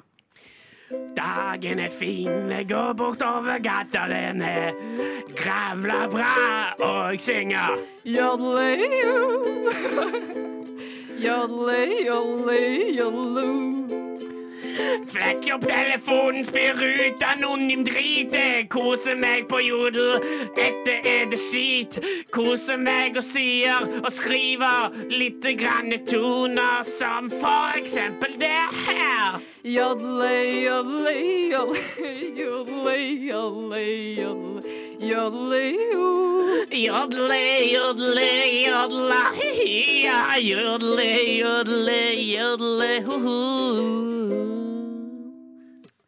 N: Dagen er fin, jeg går bortover gata, den er grævla bra, og jeg synger.
F: Jolle, jolle, jolle.
N: Flekker opp telefonen, spyr ut anonym drit. Jeg koser meg på jodel, dette er det skit. Koser meg og sier og skriver lite grann toner, som for eksempel det her.
F: Jolle, jolle, jolle, jolle, jolle, jolle, jolle,
N: Jodle, jodle, jodla, ja, jodle, jodle, jodle,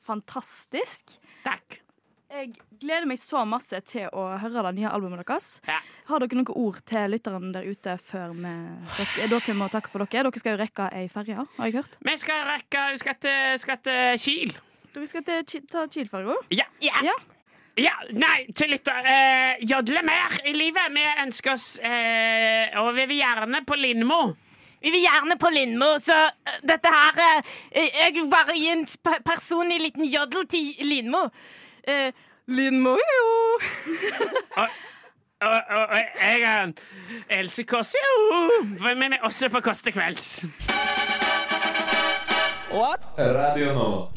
K: Fantastisk.
N: Takk.
K: Jeg gleder meg så masse til å høre det nye albumet deres. Har dere noen ord til lytterne der ute før vi dere, dere må takke for dere? Dere skal jo rekke ei ferje, har jeg hørt.
N: Vi skal rekke, vi skal til, skal til Kiel.
K: Dere skal til, Ki- ta Kiel-ferja?
N: Ja. ja. nei, til lytter. Eh, jodle mer i livet. Vi ønsker oss eh, Og vi vil gjerne på Lindmo.
F: Vi vil gjerne på Lindmo, så eh, dette her eh, Jeg vil bare gi en pe- personlig liten jodel til Lindmo. Eh, Lindmo, jo.
N: Og, og, og jeg er en Else Kåss, jo. For vi er også på Kåss til kvelds.
F: What?
D: Radio Nova.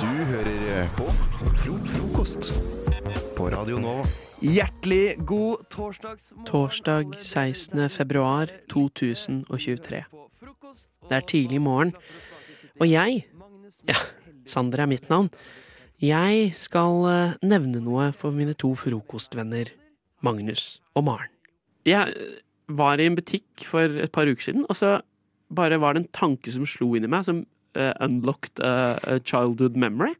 D: Du hører på Fro frokost på Radio Nova.
U: Hjertelig god torsdags...
H: Torsdag 16. februar 2023. Det er tidlig morgen, og jeg Ja, Sander er mitt navn. Jeg skal eh, nevne noe for mine to frokostvenner Magnus og Maren. Jeg var i en butikk for et par uker siden, og så bare var det en tanke som slo inn i meg, som eh, unlocked eh, a childhood memory.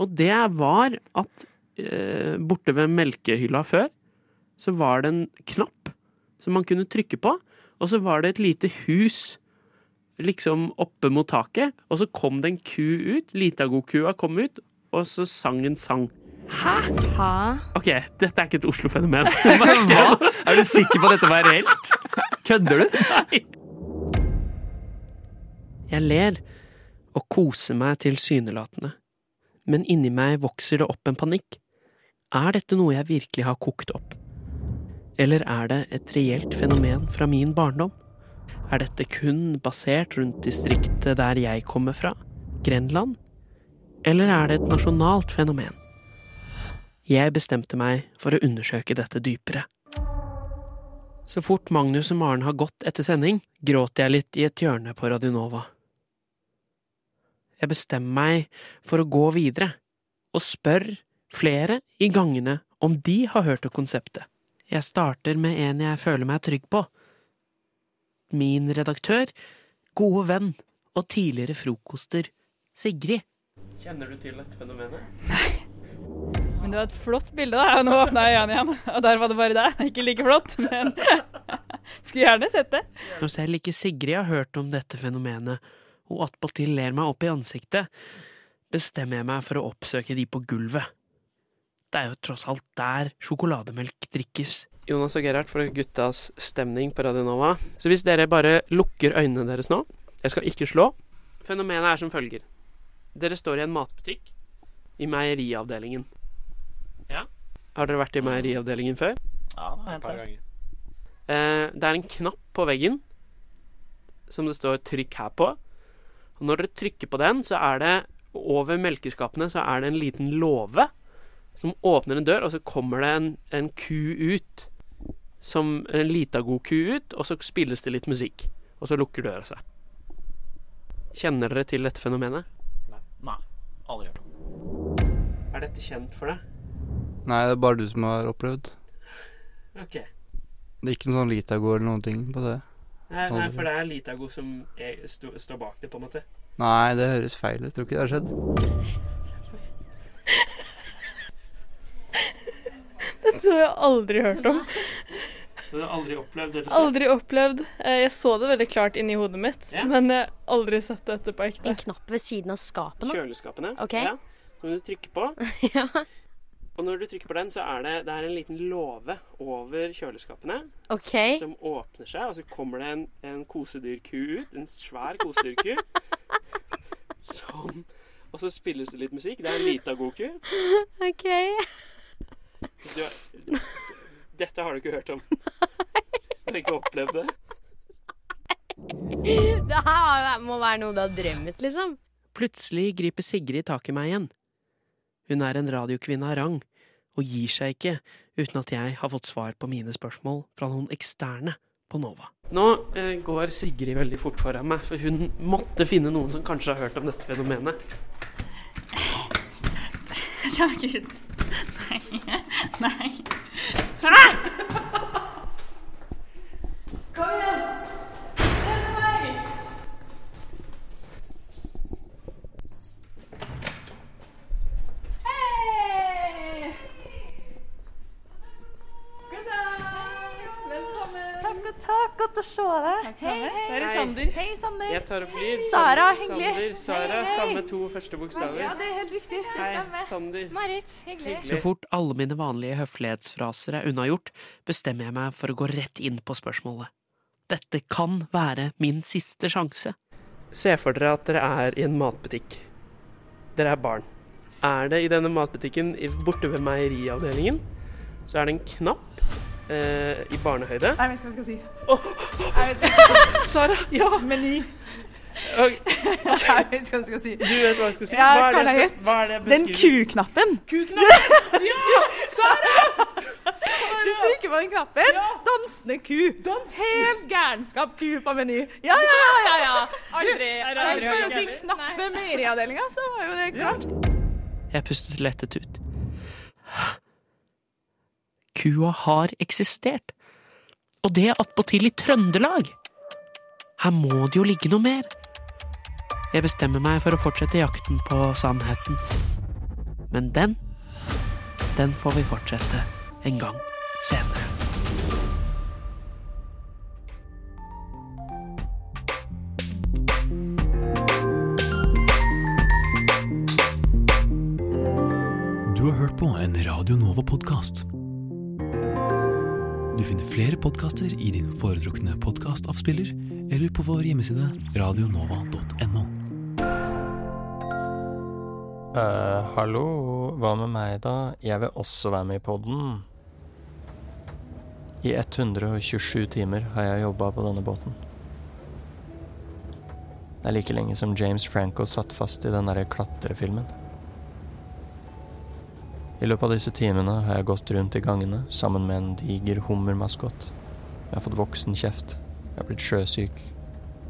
H: Og det var at eh, borte ved melkehylla før, så var det en knapp som man kunne trykke på, og så var det et lite hus liksom oppe mot taket, og så kom det en ku ut, lita god kua kom ut, og så sang en sang.
K: Ha?
H: Ok, dette er ikke et Oslo-fenomen.
U: Er du sikker på at dette var reelt? Kødder du?
H: Jeg ler og koser meg tilsynelatende, men inni meg vokser det opp en panikk. Er dette noe jeg virkelig har kokt opp? Eller er det et reelt fenomen fra min barndom? Er dette kun basert rundt distriktet der jeg kommer fra, Grenland? Eller er det et nasjonalt fenomen? Jeg bestemte meg for å undersøke dette dypere. Så fort Magnus og Maren har gått etter sending, gråter jeg litt i et hjørne på Radionova. Jeg bestemmer meg for å gå videre, og spør flere i gangene om de har hørt om konseptet. Jeg starter med en jeg føler meg trygg på. Min redaktør, gode venn og tidligere frokoster, Sigrid.
F: Kjenner du til dette fenomenet?
K: Men det var et flott bilde, da. Og nå åpna jeg øynene igjen, og der var det bare deg. Ikke like flott, men skulle gjerne sett det.
H: Når selv ikke Sigrid har hørt om dette fenomenet, og attpåtil ler meg opp i ansiktet, bestemmer jeg meg for å oppsøke de på gulvet. Det er jo tross alt der sjokolademelk drikkes.
F: Jonas og Gerhard for guttas stemning på Radio Nova. Så hvis dere bare lukker øynene deres nå Jeg skal ikke slå. Fenomenet er som følger. Dere står i en matbutikk i meieriavdelingen. Ja.
H: Har dere vært i meieriavdelingen før?
F: Ja, et par ganger.
H: Eh, det er en knapp på veggen som det står 'trykk her' på. Og når dere trykker på den, så er det over melkeskapene så er det en liten låve som åpner en dør, og så kommer det en, en ku ut. Som en lita god ku ut, og så spilles det litt musikk. Og så lukker døra seg. Kjenner dere til dette fenomenet?
F: Nei, aldri hørt om. Er dette kjent for deg?
Z: Nei, det er bare du som har opplevd.
F: Ok.
Z: Det er ikke noen sånn Litago eller noen ting på det.
F: Nei, nei, for det er Litago som er, sto, står bak det, på en måte.
Z: Nei, det høres feil ut. Tror ikke det har skjedd.
K: Dette har jeg aldri hørt om.
F: Du har aldri opplevd det?
K: Aldri opplevd. Eh, Jeg så det veldig klart inni hodet mitt, men jeg har aldri sett dette på ekte. En knapp ved siden av skapene?
F: Kjøleskapene.
K: Ok.
F: Ja, som du trykker på. Og når du trykker på den, så er det, det er en liten låve over kjøleskapene.
K: Ok.
F: Som, som åpner seg, og så kommer det en, en kosedyrku ut. En svær kosedyrku. som Og så spilles det litt musikk. Det er en lita god ku.
K: OK.
F: Du har- Dette har du ikke hørt om. Du har ikke opplevd det.
M: Det her må være noe du har drømmet, liksom.
H: Plutselig griper Sigrid tak i meg igjen. Hun er en radiokvinne av rang, og gir seg ikke uten at jeg har fått svar på mine spørsmål fra noen eksterne på Nova.
F: Nå eh, går Sigrid veldig fort foran meg, for hun måtte finne noen som kanskje har hørt om dette fenomenet.
K: Herregud. Nei. Nei. Kom igjen! Redde meg! Hei! God dag! Velkommen.
P: Takk og takk, godt å se deg. Hei, hei.
F: Det er Sander.
P: Hei, Sander.
F: Jeg tar opp lyd.
P: Sara,
F: Sander,
P: hyggelig.
F: Sander, Sara,
P: Hei, hei.
F: samme to første bokstaver.
P: Ja, det er helt riktig. Det
F: Hei,
P: stemmer.
F: Sander.
M: Marit, hyggelig.
H: Så fort alle mine vanlige høflighetsfraser er unnagjort, bestemmer jeg meg for å gå rett inn på spørsmålet. Dette kan være min siste sjanse.
F: Se for dere at dere er i en matbutikk. Dere er barn. Er det i denne matbutikken i- borte ved meieriavdelingen, så er det en knapp eh, i barnehøyde.
P: Jeg vet ikke hva jeg skal si.
F: Sara, ja.
P: Meny.
F: Og,
P: Jeg vet ikke hva jeg skal si.
F: Du vet hva jeg skal si.
P: Ja,
F: Hva er det jeg
P: kan jeg
F: skal-
P: gjette?
F: hva er det jeg
P: Den
F: beskriver?
P: kuknappen.
F: Kuknappen! Ja! Sara!
P: Du trykker på den knappen. Dansende ku. Helt gærenskap ku på meny. Ja, ja, ja. ja, ja.
M: Aldri-
P: Du,
M: aldri
P: tenk
M: hørt
P: bare å si
M: heller.
P: knapp ved meieriavdelinga, så var jo det klart.
H: Jeg pustet lettet ut. Kua har eksistert, og det attpåtil i Trøndelag! Her må det jo ligge noe mer. Jeg bestemmer meg for å fortsette jakten på sannheten. Men den, den får vi fortsette en gang senere.
G: Du har hørt på en Radio Nova-podkast. Du finner flere podkaster i din foretrukne podkastavspiller eller på vår hjemmeside radionova.no.
X: Eh, hallo, hva med meg da? Jeg vil også være med i podden. I 127 timer har jeg jobba på denne båten. Det er like lenge som James Franco satt fast i den derre klatrefilmen. I løpet av disse timene har jeg gått rundt i gangene sammen med en diger hummermaskot. Jeg har fått voksenkjeft, jeg har blitt sjøsyk,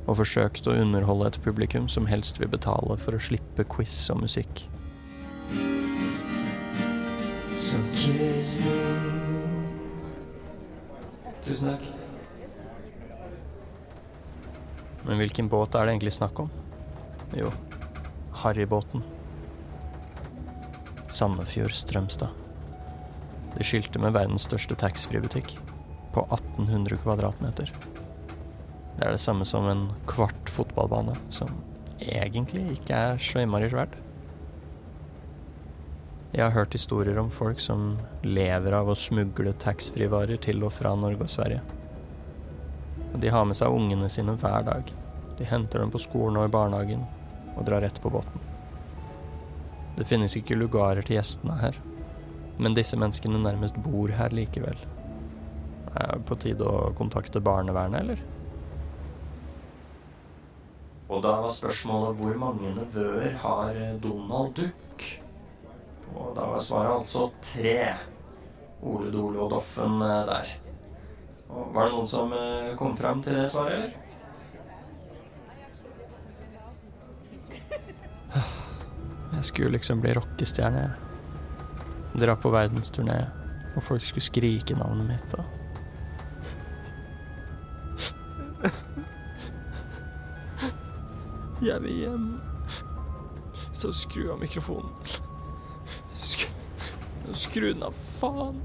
X: og forsøkt å underholde et publikum som helst vil betale for å slippe quiz og musikk.
U: So kiss me
X: Tusen takk. Men hvilken båt er det egentlig snakk om? Jo, Harrybåten. Sandefjord Strømstad. Det skilte med verdens største taxfree-butikk på 1800 kvadratmeter. Det er det samme som en kvart fotballbane, som egentlig ikke er så innmari svært. Jeg har hørt historier om folk som lever av å smugle taxfree-varer til og fra Norge og Sverige. Og de har med seg ungene sine hver dag. De henter dem på skolen og i barnehagen og drar rett på båten. Det finnes ikke lugarer til gjestene her, men disse menneskene nærmest bor her likevel. Er det på tide å kontakte barnevernet, eller? Og da var spørsmålet hvor mange nevøer har eh, Donald Duck? Og da var svaret altså tre. Ole Dole og Doffen eh, der. Og var det noen som eh, kom fram til det svaret, eller? Jeg skulle liksom bli rockestjerne. jeg. Dra på verdensturné, og folk skulle skrike navnet mitt. Og... Jeg vil hjem. Så skru av mikrofonen. Skru, skru den av, faen.